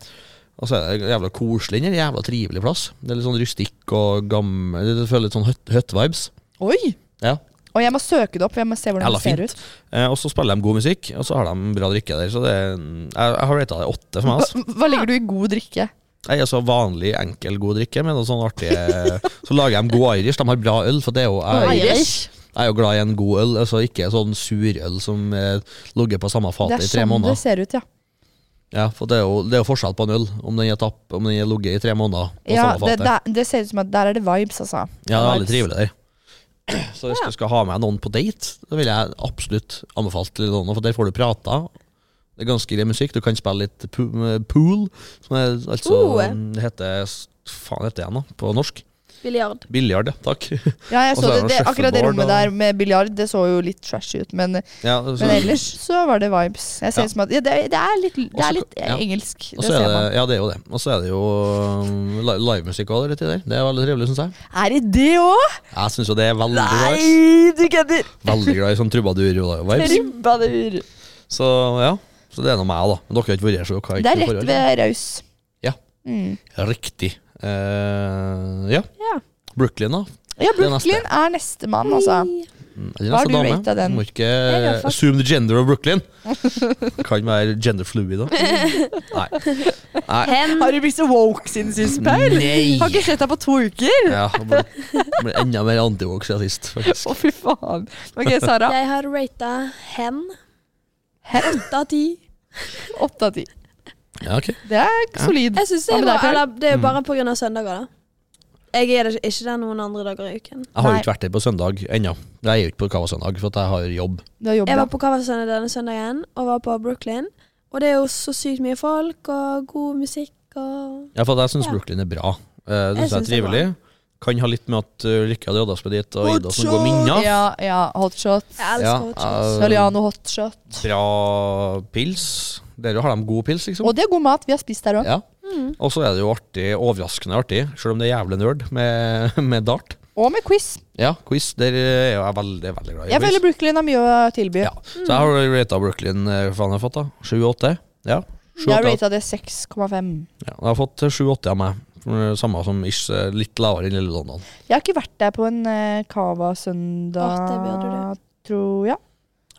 Speaker 1: Og så er det jævla koselig inni en jævla trivelig plass. Det er litt sånn rustikk og gammel Det føler litt sånn høtt- høtt-vibes.
Speaker 3: Oi!
Speaker 1: Ja.
Speaker 3: Og jeg må søke det opp. Jeg må se hvordan
Speaker 1: Jævla
Speaker 3: det ser
Speaker 1: fint.
Speaker 3: ut.
Speaker 1: Eh, og så spiller de god musikk, og så har de bra drikke der. Så det er, jeg, jeg har rata det åtte for meg. Altså.
Speaker 3: Hva, hva legger du i god drikke?
Speaker 1: Jeg er så vanlig, enkel, god drikke, men noe sånn artig Så lager de god irish. De har bra øl, for det er jo jeg,
Speaker 3: Irish.
Speaker 1: jeg er jo glad i en god øl. Altså ikke sånn surøl som eh, ligger på samme
Speaker 3: Det
Speaker 1: fatet
Speaker 3: er
Speaker 1: i tre
Speaker 3: sånn det
Speaker 1: måneder.
Speaker 3: ser ut, ja.
Speaker 1: Ja, for det er, jo, det er jo forskjell på en øl, om den er tapp, om den er ligget i tre måneder på
Speaker 3: ja
Speaker 1: samme
Speaker 3: det,
Speaker 1: fatet.
Speaker 3: det, det ser ut som at der er det vibes, altså.
Speaker 1: Ja, det er veldig
Speaker 3: Vibes.
Speaker 1: trivelig der. Så hvis du skal ha med noen på date, da vil jeg absolutt anbefale til noen, for der får du prata. Det er ganske grei musikk. Du kan spille litt pu- pool, som er altså
Speaker 2: Oh.
Speaker 1: Det heter Faen heter det igjen, da, på norsk?
Speaker 2: Biljard.
Speaker 1: Biljard, ja. Takk.
Speaker 3: Ja, jeg
Speaker 1: Og
Speaker 3: så
Speaker 1: så er
Speaker 3: det,
Speaker 1: det
Speaker 3: det, akkurat det
Speaker 1: shuffleboard
Speaker 3: rommet
Speaker 1: og-
Speaker 3: der med biljard, det så jo litt trashy ut, men,
Speaker 1: Ja, så,
Speaker 3: men ellers så var det vibes. Jeg ser
Speaker 1: Ja.
Speaker 3: ut som at ja, det, det er litt, det
Speaker 1: Også-
Speaker 3: er litt eh,
Speaker 1: ja.
Speaker 3: engelsk.
Speaker 1: og
Speaker 3: Det
Speaker 1: så er
Speaker 3: ser
Speaker 1: det,
Speaker 3: man.
Speaker 1: ja, det er jo det. Og så er det jo um, li- livemusikk òg, det der. Det er veldig trivelig, syns jeg.
Speaker 3: Er det det òg?
Speaker 1: Jeg syns jo det er veldig
Speaker 3: Nei,
Speaker 1: nice.
Speaker 3: du kødder!
Speaker 1: Veldig glad i sånn trubadur-vibes.
Speaker 3: Trubadur.
Speaker 1: Så ja. Så det er nå meg, da. Men dere har ikke vært her, så dere har
Speaker 3: Det
Speaker 1: ikke
Speaker 3: er
Speaker 1: noe
Speaker 3: rett
Speaker 1: forhold.
Speaker 3: ved Raus.
Speaker 1: Ja.
Speaker 3: Mm.
Speaker 1: Riktig. Eh, ja.
Speaker 2: Ja.
Speaker 1: Brooklyn, da.
Speaker 3: Ja,
Speaker 1: er neste.
Speaker 3: Brooklyn er nestemann, altså.
Speaker 1: Eller
Speaker 3: Hva
Speaker 1: neste
Speaker 3: har du
Speaker 1: dame.
Speaker 3: ratet den?
Speaker 1: Må ikke
Speaker 3: Jeg er faktisk-
Speaker 1: assume the gender of Brooklyn. kan være gender fluid, da. Nei.
Speaker 4: Hen.
Speaker 3: Har du blitt så woke siden sist, Paul? Har
Speaker 1: Nei.
Speaker 3: ikke sett deg på to uker.
Speaker 1: Ja, jeg ble, jeg ble enda mer antivåk siden sist, faktisk.
Speaker 3: Å, fy faen. Ok, Sara.
Speaker 2: Jeg har rata hen
Speaker 3: Hen?
Speaker 2: åtte av ti.
Speaker 3: Åtte av ti.
Speaker 1: Ja, ok.
Speaker 3: Det er solid.
Speaker 2: Jeg synes
Speaker 3: Hva
Speaker 2: det,
Speaker 3: med deg,
Speaker 2: var,
Speaker 3: Paul?
Speaker 2: eller,
Speaker 1: Mm.
Speaker 2: det er jo bare på grunn av søndager, da. Jeg er det ikke der noen andre dager i uken.
Speaker 1: Jeg har jo
Speaker 3: Nei.
Speaker 1: ikke vært der på søndag ennå. Jeg er jo ikke på Kava søndag, for at jeg har jobb.
Speaker 3: Du har jobb, da.
Speaker 2: Jeg var på Kavasøndag denne søndagen, og var på Brooklyn. Og det er jo så sykt mye folk, og god musikk og
Speaker 1: Ja, for at jeg syns
Speaker 2: Ja.
Speaker 1: Brooklyn er bra. Eh, Det
Speaker 2: Jeg
Speaker 1: syns jeg
Speaker 2: synes
Speaker 1: er
Speaker 2: det er
Speaker 1: trivelig. Kan ha litt med at uh, Lykke hadde dratt oss med dit, og Ida som går minna.
Speaker 3: Ja, ja. Hotshot.
Speaker 2: Jeg elsker
Speaker 1: Ja,
Speaker 2: Hotshot.
Speaker 1: eh,
Speaker 3: Saliano hotshot.
Speaker 1: Bra pils. Der har de god pils, liksom.
Speaker 3: Og det er god mat. Vi har spist der òg.
Speaker 1: Ja. Og så er det jo artig, overraskende artig, selv om det er jævlig nerd med, med dart.
Speaker 3: Og med quiz.
Speaker 1: Ja, quiz. Der er jeg veldig, veldig glad i
Speaker 3: Jeg føler
Speaker 1: quiz.
Speaker 3: Brooklyn har mye å tilby.
Speaker 1: Ja. Så jeg har rata Brooklyn eh, hva faen jeg har fått, da. 7-8? Ja.
Speaker 3: Jeg har
Speaker 1: 7-8.
Speaker 3: rata det 6,5.
Speaker 1: ja. Jeg har fått 7-8 av meg. Samme som ish, eh, litt lavere enn Lille London.
Speaker 3: Jeg har ikke vært der på en eh, Cava
Speaker 2: Å, det burde
Speaker 3: søndag, tror jeg.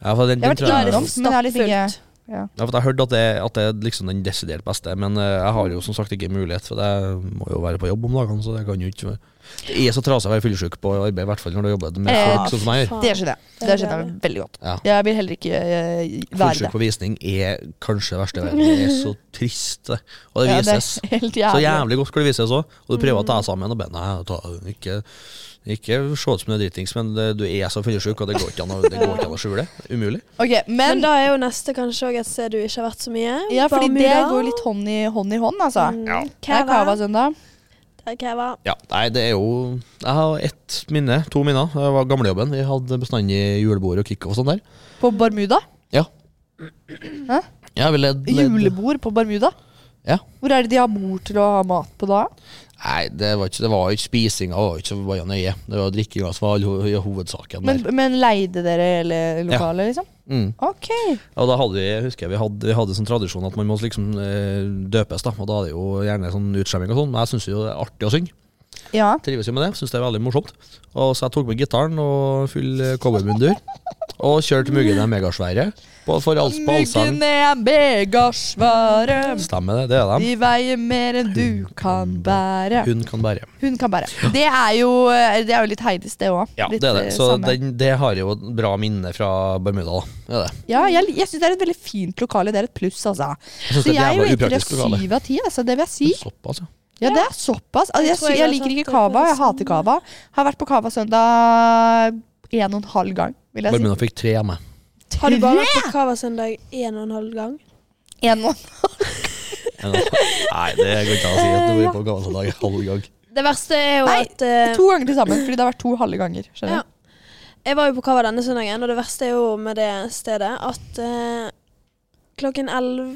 Speaker 1: Ja, for den,
Speaker 3: Jeg
Speaker 1: den
Speaker 3: har vært
Speaker 1: tror jeg,
Speaker 3: innom. men jeg er litt ikke-
Speaker 2: Stappfullt.
Speaker 1: ja, for jeg hørte at det, at det er liksom den desidert beste, men eh, jeg har jo som sagt ikke mulighet, for jeg må jo være på jobb om dagene, så det kan jo ikke Det er så trasig å være fyllesyk på arbeid, i hvert fall når du jobber med
Speaker 3: Eh,
Speaker 1: folk sånn som meg.
Speaker 2: faen.
Speaker 3: Det skjønner jeg. Det skjønner jeg veldig godt.
Speaker 1: Ja.
Speaker 3: Jeg vil heller ikke eh, være
Speaker 1: Fullsjuk
Speaker 3: det.
Speaker 1: på visning er kanskje det verste i verden. Det er så trist. det. Og det
Speaker 3: Ja, det Mm.
Speaker 1: vises.
Speaker 3: er helt
Speaker 1: Så
Speaker 3: jævlig.
Speaker 1: jævlig godt skal det vises òg. Og du prøver å ta deg sammen og bare Nei, ta, ikke, ikke se ut som du er dritings, men det, du er så fyllesyk, og det går ikke an å, det går ikke an å skjule. Det er Umulig.
Speaker 3: Ok,
Speaker 2: Men
Speaker 3: men
Speaker 2: da er jo neste kanskje òg et sted du ikke har vært så mye.
Speaker 3: ja, fordi det
Speaker 2: Bermuda.
Speaker 3: går litt hånd i hånd, i hånd altså.
Speaker 2: Mm,
Speaker 1: Ja.
Speaker 3: Det er altså.
Speaker 2: Cava.
Speaker 3: Cava-søndag.
Speaker 2: Det er Cava.
Speaker 1: Ja, nei, det er jo Jeg har ett minne, to minner. Det var gamlejobben. Vi hadde bestandig julebord og kickoff og sånn der.
Speaker 3: På Bermuda?
Speaker 1: Ja, vi led, led.
Speaker 3: Julebord på Bermuda?
Speaker 1: Ja.
Speaker 3: Hvor er det de har bord til å ha mat på da?
Speaker 1: Nei, det var ikke, det var ikke spisinga var ikke så bare nøye. Det var drikkinga som var ho- hovedsaken.
Speaker 3: Men,
Speaker 1: der.
Speaker 3: men leide dere hele lokalet, liksom?
Speaker 1: Mm.
Speaker 3: Ok.
Speaker 1: Ja, da hadde vi, jeg husker vi hadde, vi hadde sånn tradisjon at man må liksom eh, døpes, da. Og da er det jo gjerne sånn utskjemming og sånn. Men jeg syns jo det er artig å synge.
Speaker 3: Ja.
Speaker 1: Trives jo med det. Syns det er veldig morsomt. Og så jeg tok med gitaren og full eh, cowboymundur. Og kjørte Muggen er megasvære på, for alls, på allsang.
Speaker 3: Myggen er megasvære.
Speaker 1: Stemmer det, det er dem.
Speaker 3: De veier mer enn du kan bære.
Speaker 1: Hun kan bære.
Speaker 3: Hun kan bære. Det er jo, eh, det er jo litt eh, Heidis, det òg.
Speaker 1: Ja, det er det. Så den, det har jeg jo et bra minne fra Bermuda, da. Det er det.
Speaker 3: Ja, jeg, jeg syns det er et veldig fint lokale. Det er et pluss, altså.
Speaker 1: Jeg syns
Speaker 3: Så
Speaker 1: det er et
Speaker 3: jeg
Speaker 1: jævla
Speaker 3: rater det
Speaker 1: upraktisk lokale.
Speaker 3: syv av ti, altså. Det vil jeg si.
Speaker 1: Såpass, ja.
Speaker 3: Ja, det er såpass. Altså,
Speaker 2: Jeg
Speaker 3: jeg,
Speaker 2: tror jeg
Speaker 3: sy- jeg
Speaker 2: har
Speaker 3: liker
Speaker 2: satt
Speaker 3: ikke
Speaker 2: det på
Speaker 3: Cava. Jeg
Speaker 2: listen.
Speaker 3: hater Cava. Har vært på Cava søndag en og en halv gang, vil jeg si.
Speaker 1: Bermuda fikk tre E. av meg.
Speaker 2: Har du bare vært på Cava søndag en og en halv gang?
Speaker 3: En og en
Speaker 1: Nei, det går ikke an å si at du blir på gammeldag halv gang.
Speaker 2: Det verste er jo
Speaker 3: Nei,
Speaker 2: at eh,
Speaker 3: To ganger til sammen, fordi det har vært to halve ganger. skjønner
Speaker 2: Ja. Jeg var jo på cover denne søndagen, og det verste er jo med det stedet at eh, klokken 11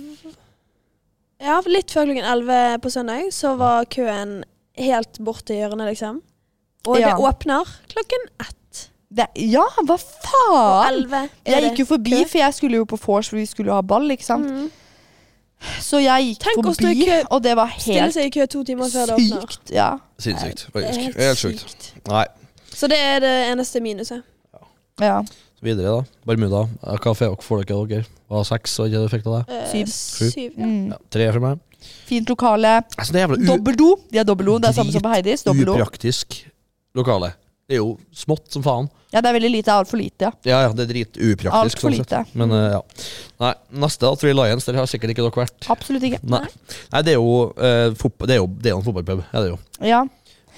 Speaker 2: Ja, litt før klokken 11 på søndag, så var køen helt borti hjørnet, liksom. Og
Speaker 3: Ja.
Speaker 2: det åpner klokken ett.
Speaker 3: du. Det, ja, hva
Speaker 2: Og
Speaker 3: faen?
Speaker 2: 11 er
Speaker 3: Jeg
Speaker 2: det
Speaker 3: gikk jo forbi,
Speaker 2: kø.
Speaker 3: for jeg skulle jo på vors, for vi skulle ha ball. ikke sant?
Speaker 2: Mm.
Speaker 3: Så jeg gikk
Speaker 2: Tenk å stå i
Speaker 3: forbi,
Speaker 2: kø-
Speaker 3: og det var
Speaker 2: Stille
Speaker 3: helt
Speaker 2: seg i kø to timer før det åpner.
Speaker 3: sykt. Ja.
Speaker 1: Sinnssykt.
Speaker 2: Det er
Speaker 1: Faktisk.
Speaker 2: helt
Speaker 1: Helt sjukt.
Speaker 2: sykt.
Speaker 1: Nei.
Speaker 2: Så det er det eneste minuset.
Speaker 3: ja.
Speaker 1: Videre, da. Bermuda. Ja, Hva får dere- får dere? dere? Var seks, og ikke dere fikk det?
Speaker 2: Eh,
Speaker 3: Syv.
Speaker 2: syv ja.
Speaker 3: Mm.
Speaker 1: Ja, tre for meg.
Speaker 3: Fint lokale.
Speaker 1: Altså, det er jævla u
Speaker 3: Dobbel do. De har dobbel do. Det er samme som på Heidis. Dobbel do.
Speaker 1: upraktisk lokale. Det er jo smått som faen.
Speaker 3: Ja, det er veldig lite. Altfor lite, ja.
Speaker 1: Ja, ja, det er dritupraktisk.
Speaker 3: Altfor
Speaker 1: sånn sett.
Speaker 3: lite.
Speaker 1: Men eh, ja. Nei, neste da, Three Lions. Der har sikkert ikke dere vært.
Speaker 3: Absolutt ikke.
Speaker 1: Nei. Nei, det er jo, eh, fotball- det er jo, det er jo en fotballpub. Ja, det er jo.
Speaker 3: Ja.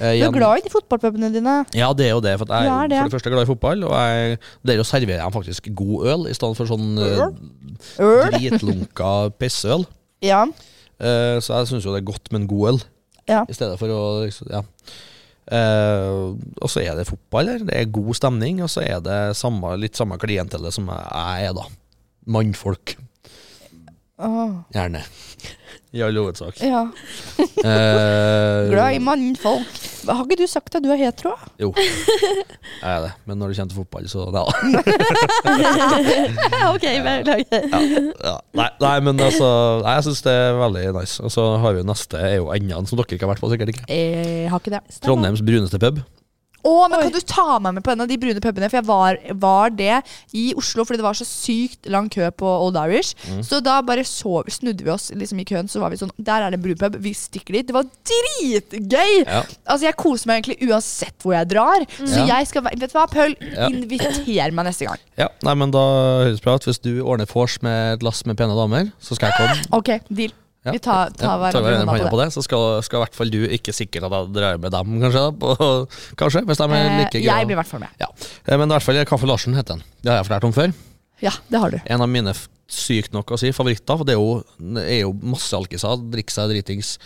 Speaker 1: Eh,
Speaker 3: Du
Speaker 1: igjen-
Speaker 3: er glad i de fotballpubene dine.
Speaker 1: Ja, det er jo det. For at jeg
Speaker 3: Du
Speaker 1: er
Speaker 3: er
Speaker 1: jo
Speaker 3: det.
Speaker 1: for det første glad i fotball, og jeg, der jo serverer jeg faktisk god øl i stedet for sånn eh,
Speaker 3: Øl.
Speaker 1: dritlunka pissøl.
Speaker 3: Ja.
Speaker 1: Eh, så jeg syns jo det er godt med en god øl,
Speaker 3: Ja.
Speaker 1: i stedet for å liksom, Ja. Eh, og så er det fotball her. Det er god stemning, og så er det samme, litt samme klientelle som jeg er, da. Mannfolk,
Speaker 3: Åh.
Speaker 1: gjerne. I all hovedsak.
Speaker 3: ja.
Speaker 1: Eh,
Speaker 3: Glad i mannfolk. Har ikke du sagt at du er hetero?
Speaker 1: Jo, jeg er det. Men når det kommer til fotball, så ja.
Speaker 3: ok, beklager.
Speaker 1: ja. Nei, nei, men altså nei, Jeg syns det er veldig nice. Og så har vi jo neste er jo Ennan, som dere ikke har vært på, sikkert ikke.
Speaker 3: Jeg Eh, har ikke det.
Speaker 1: Trondheims bruneste pub.
Speaker 3: Å, men Kan du ta meg med på en av de brune pubene? For jeg var, var det i Oslo fordi det var så sykt lang kø på Old Irish.
Speaker 1: Mm.
Speaker 3: Så da bare så, snudde vi oss liksom i køen, så var vi sånn Der er det en brun pub, vi stikker dit. Det var dritgøy!
Speaker 1: Ja. Mm.
Speaker 3: Altså, Jeg koser meg egentlig uansett hvor jeg drar. Så
Speaker 1: Ja.
Speaker 3: jeg skal være- Vet du hva, Paul?
Speaker 1: Ja.
Speaker 3: Inviter meg neste gang.
Speaker 1: ja. Nei, men da høres bra ut. Hvis du ordner vors med et lass med pene damer, så skal jeg komme.
Speaker 3: Ok, deal.
Speaker 1: Ja.
Speaker 3: Vi tar, tar
Speaker 1: Ja, ta
Speaker 3: hverandre i hånda på det.
Speaker 1: på det. Så skal, skal i hvert fall du ikke sikkert at jeg drar med dem, kanskje. da, På, kanskje, hvis de er
Speaker 3: Eh,
Speaker 1: like
Speaker 3: jeg blir i
Speaker 1: glad.
Speaker 3: hvert fall med.
Speaker 1: Ja. Eh, Men i hvert fall Kaffe Larsen heter den. Det har jeg fortalt om før.
Speaker 3: Ja, det har du.
Speaker 1: en av mine f- sykt nok å si favoritter, for det er jo, det er jo masse alkiser, drikke seg dritings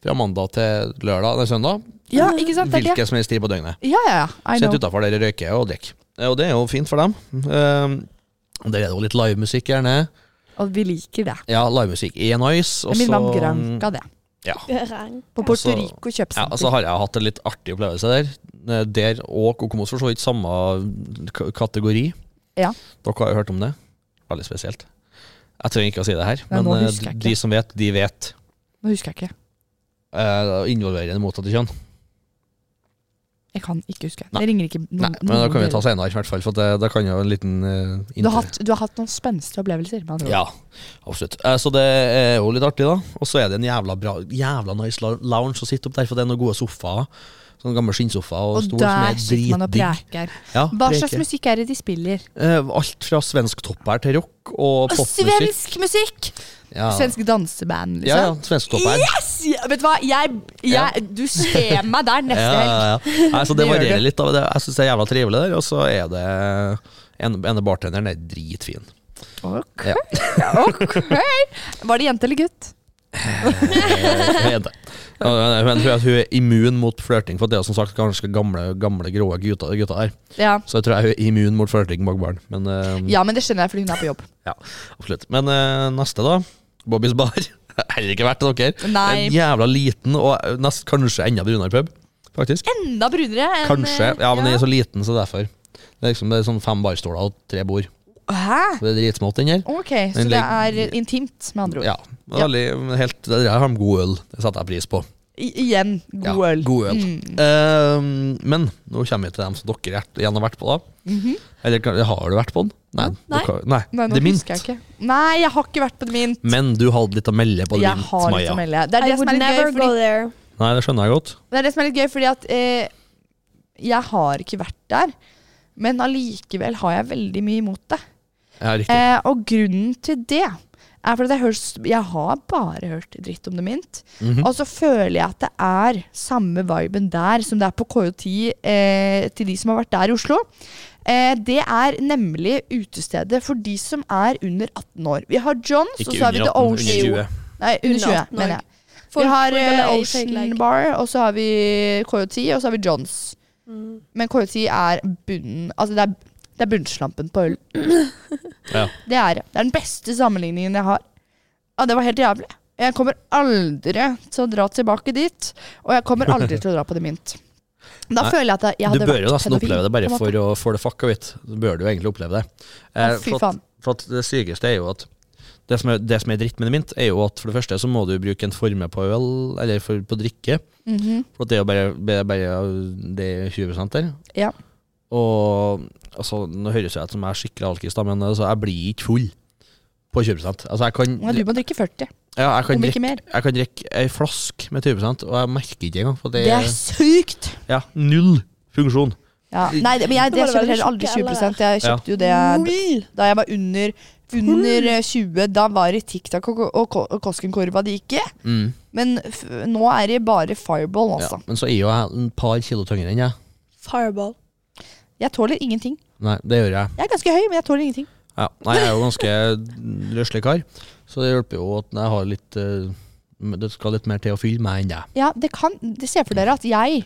Speaker 1: fra mandag til lørdag eller søndag.
Speaker 3: Ja, ikke sant? Det er ikke-
Speaker 1: Hvilken som helst tid på døgnet.
Speaker 3: Ja, ja, ja. I
Speaker 1: Sitt
Speaker 3: know.
Speaker 1: utafor der og røyke og drikke. Eh, Og det er jo fint for dem. Eh, der er det jo litt livemusikk, gjerne.
Speaker 3: Og vi liker det.
Speaker 1: Ja, livemusikk er nice. Og
Speaker 3: Jeg minner meg om
Speaker 1: så
Speaker 3: Granca, det.
Speaker 1: ja.
Speaker 2: Rank.
Speaker 3: På
Speaker 1: Og så-
Speaker 3: Puerto Rico
Speaker 1: Ja,
Speaker 3: kjøpesenter.
Speaker 1: og så har jeg hatt en litt artig opplevelse der. Eh, Der og Kokomos for så vidt samme k- kategori.
Speaker 3: Ja.
Speaker 1: Dere har jo hørt om det. Veldig spesielt. Jeg trenger ikke å si det her,
Speaker 3: Nei,
Speaker 1: men
Speaker 3: nå
Speaker 1: eh,
Speaker 3: husker jeg ikke.
Speaker 1: de som vet, de vet.
Speaker 3: Nå husker jeg ikke.
Speaker 1: uh, involverende motsatte kjønn.
Speaker 3: Jeg kan ikke huske.
Speaker 1: Nei.
Speaker 3: Det ringer ikke noen,
Speaker 1: Nei, men da kan vi ta senere, i hvert fall. For det, da kan jo en liten eh,
Speaker 3: Du har,
Speaker 1: inter-
Speaker 3: hatt, du har hatt noen spenstige opplevelser. Med andre ord.
Speaker 1: Ja, absolutt. Eh, så det er jo litt artig, da. Og så er det en jævla bra Jævla nice lou- lounge å sitte opp der, for det er noen gode sofaer. Sånn gammel skinnsofa og,
Speaker 3: og
Speaker 1: stol som
Speaker 3: der sitter
Speaker 1: er
Speaker 3: man og
Speaker 1: dritdigg.
Speaker 3: preker.
Speaker 1: Ja,
Speaker 3: Hva slags
Speaker 1: preker.
Speaker 3: musikk er det de spiller?
Speaker 1: Eh, alt fra svensk topper til rock og popmusikk.
Speaker 3: musikk!
Speaker 1: Ja.
Speaker 3: Svensk danseband,
Speaker 1: ja, ja,
Speaker 3: liksom.
Speaker 1: svensk topper.
Speaker 3: Yes! Ja, vet du hva, jeg,
Speaker 1: Ja.
Speaker 3: jeg Du ser meg der neste
Speaker 1: Ja,
Speaker 3: helg.
Speaker 1: ja, ja. Nei, så det
Speaker 3: Det gjør
Speaker 1: varierer
Speaker 3: du.
Speaker 1: litt. Da. Det- Jeg syns det er jævla trivelig der, og så er det en- ene bartenderen er dritfin.
Speaker 3: Ok,
Speaker 1: Ja.
Speaker 3: ok. Var det jente eller gutt?
Speaker 1: Hun er det. Ja, Men hun er, hun er immun mot flørting, for det er som sagt ganske gamle, gamle grå gutter, gutter her.
Speaker 3: Ja.
Speaker 1: Så jeg tror jeg hun er immun mot flørting bak barn. Men, eh,
Speaker 3: ja, men det skjønner jeg, fordi hun er på jobb.
Speaker 1: absolutt. men eh, neste, da. Bobbys bar. Heller ikke vært til dere.
Speaker 3: Nei.
Speaker 1: En jævla liten og eh, nest, kanskje enda brunere pub, faktisk.
Speaker 3: Enda brunere enn
Speaker 1: Kanskje.
Speaker 3: eh,
Speaker 1: Ja, men den er så liten, så derfor. Det er, liksom, det er sånn fem barstoler og tre bord.
Speaker 3: Hæ?
Speaker 1: Så Det er dritsmått, den her.
Speaker 3: Ok, så
Speaker 1: Den
Speaker 3: det
Speaker 1: legger-
Speaker 3: er intimt, med andre ord.
Speaker 1: Ja. Veldig, helt, der har de god øl. Det setter jeg pris på.
Speaker 3: I igjen, god
Speaker 1: Ja,
Speaker 3: øl. Mm.
Speaker 1: God øl. Eh, men nå kommer vi til dem som dere er- igjen har vært på, da. Eller kan- har du vært på den? Nei.
Speaker 2: Nei.
Speaker 1: dere- nei.
Speaker 3: Mhm. Nei, nå
Speaker 1: det er mint.
Speaker 3: husker jeg ikke. Nei, jeg har ikke vært på det mint.
Speaker 1: Men du hadde litt å melde på
Speaker 3: Jeg
Speaker 1: det
Speaker 3: har
Speaker 1: mint,
Speaker 3: litt å
Speaker 1: Maja.
Speaker 3: melde. Det er
Speaker 2: I
Speaker 3: det, som
Speaker 2: would
Speaker 3: er litt
Speaker 2: never
Speaker 3: gøy,
Speaker 2: go
Speaker 3: fordi,
Speaker 2: there.
Speaker 1: Nei, det skjønner jeg godt.
Speaker 3: det er det som er litt gøy, fordi at eh, jeg har ikke vært der. Men allikevel har jeg veldig mye imot det.
Speaker 1: Ja, riktig.
Speaker 3: Eh, og grunnen til det er fordi at jeg, hørt, jeg har bare hørt dritt om det mint.
Speaker 1: Mhm.
Speaker 3: Og så føler jeg at det er samme viben der som det er på KJ10 eh, til de som har vært der i Oslo. Eh, det er nemlig utestedet for de som er under 18 år. Vi har Johns, og
Speaker 1: Ikke
Speaker 3: så har vi
Speaker 1: under
Speaker 3: The
Speaker 1: 18, under
Speaker 3: Ocean.
Speaker 1: 20.
Speaker 3: Nei, under
Speaker 2: Under
Speaker 3: 20,
Speaker 2: 18 år.
Speaker 3: mener jeg.
Speaker 2: Folk-
Speaker 3: vi har
Speaker 2: folk
Speaker 3: eh,
Speaker 2: er lei
Speaker 3: Ocean
Speaker 2: peg-leg.
Speaker 3: Bar, og så har vi KJT, og så har vi Johns.
Speaker 2: Mm.
Speaker 3: Men KJT er bunnen Altså, det er, det er bunnslampen på øl.
Speaker 1: Ja.
Speaker 3: Det er det. Det er den beste sammenligningen jeg har. Ja, det var helt jævlig. Jeg kommer aldri til å dra tilbake dit, og jeg kommer aldri til å dra på det mynt. Da
Speaker 1: Nei.
Speaker 3: føler jeg at jeg
Speaker 1: Du
Speaker 3: hadde
Speaker 1: bør jo
Speaker 3: vært
Speaker 1: nesten
Speaker 3: pedofil,
Speaker 1: oppleve det bare
Speaker 3: på en måte.
Speaker 1: for å få det fucka ut. Du bør jo egentlig oppleve det.
Speaker 3: Ja,
Speaker 1: Eh,
Speaker 3: fy
Speaker 1: for,
Speaker 3: faen.
Speaker 1: at, for at det sykeste er jo at det som er, det som er dritt med det mint, er jo at for det første så må du bruke en forme på øl, eller for, på drikke.
Speaker 3: Mhm.
Speaker 1: For at det er jo bare, bare, bare det er 20 der.
Speaker 3: Ja.
Speaker 1: Og altså, nå høres jeg ut som jeg er skikkelig alkis, da, men altså, jeg blir ikke full på 20 Altså, jeg kan,
Speaker 3: Men du må drikke 40,
Speaker 1: ja, jeg kan
Speaker 3: om
Speaker 1: drikke
Speaker 3: ikke mer.
Speaker 1: jeg kan drikke ei flask med 20 og jeg merker ikke engang. For det,
Speaker 3: Det er sykt!
Speaker 1: ja, null funksjon.
Speaker 3: Ja. Nei, det, men jeg,
Speaker 2: Da
Speaker 3: det
Speaker 2: må det være
Speaker 3: kjøper heller aldri
Speaker 2: sjokke,
Speaker 3: 20
Speaker 1: Ja.
Speaker 3: Jeg kjøpte jo det da jeg var under, under eh, 20. Da var det TikTok og, og, og Koskenkorva det gikk i.
Speaker 1: Mm.
Speaker 3: Men f nå er det bare fireball,
Speaker 1: Ja,
Speaker 3: altså.
Speaker 1: men så er jo jeg en par kilo tyngre enn jeg.
Speaker 2: Fireball.
Speaker 3: Jeg tåler ingenting.
Speaker 1: Nei, det gjør jeg.
Speaker 3: Jeg er ganske høy, men jeg tåler ingenting.
Speaker 1: Ja. Nei, jeg er jo ganske røslig kar, så det hjelper jo at jeg har litt eh, Det skal litt mer til å fylle meg enn deg.
Speaker 3: Ja, det kan det Ser for dere at jeg,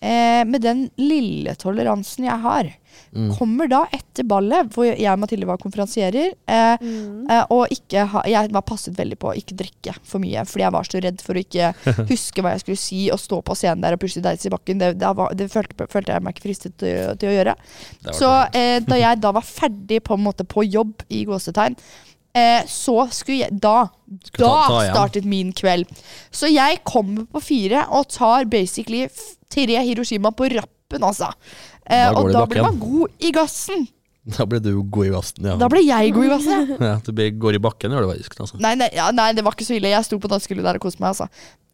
Speaker 3: eh, med den lille toleransen jeg har,
Speaker 1: Mm.
Speaker 3: kommer da etter ballet, hvor jeg og Mathilde var konferansierer, eh, eh, og ikke ha, jeg var passet veldig på å ikke drikke for mye, fordi jeg var så redd for å ikke huske hva jeg skulle si, og stå på scenen der og pushe deis i bakken. Det, det, var, det følte, følte jeg meg ikke fristet til, å- til å gjøre.
Speaker 1: Det var
Speaker 3: Så
Speaker 1: sånn.
Speaker 3: eh, da jeg da var ferdig på en måte på jobb i gåsetegn, eh, så skulle jeg Da,
Speaker 1: Skulle ta- ta
Speaker 3: da
Speaker 1: igjen.
Speaker 3: startet min kveld. Så jeg kommer på fire og tar basically f- tre Hiroshima på rappen, altså. Eh,
Speaker 1: Da går
Speaker 3: og
Speaker 1: det
Speaker 3: da
Speaker 1: bak
Speaker 3: blir
Speaker 1: igjen.
Speaker 3: man god i gassen.
Speaker 1: Da ble du jo god i gassen. Ja.
Speaker 3: Da ble jeg god i gassen. ja.
Speaker 1: ja, du blir- går i bakken, gjør du faktisk. Altså.
Speaker 3: Nei, nei, ja, nei, det var ikke så ille. Jeg sto på dansegulvet der og koste meg. Altså.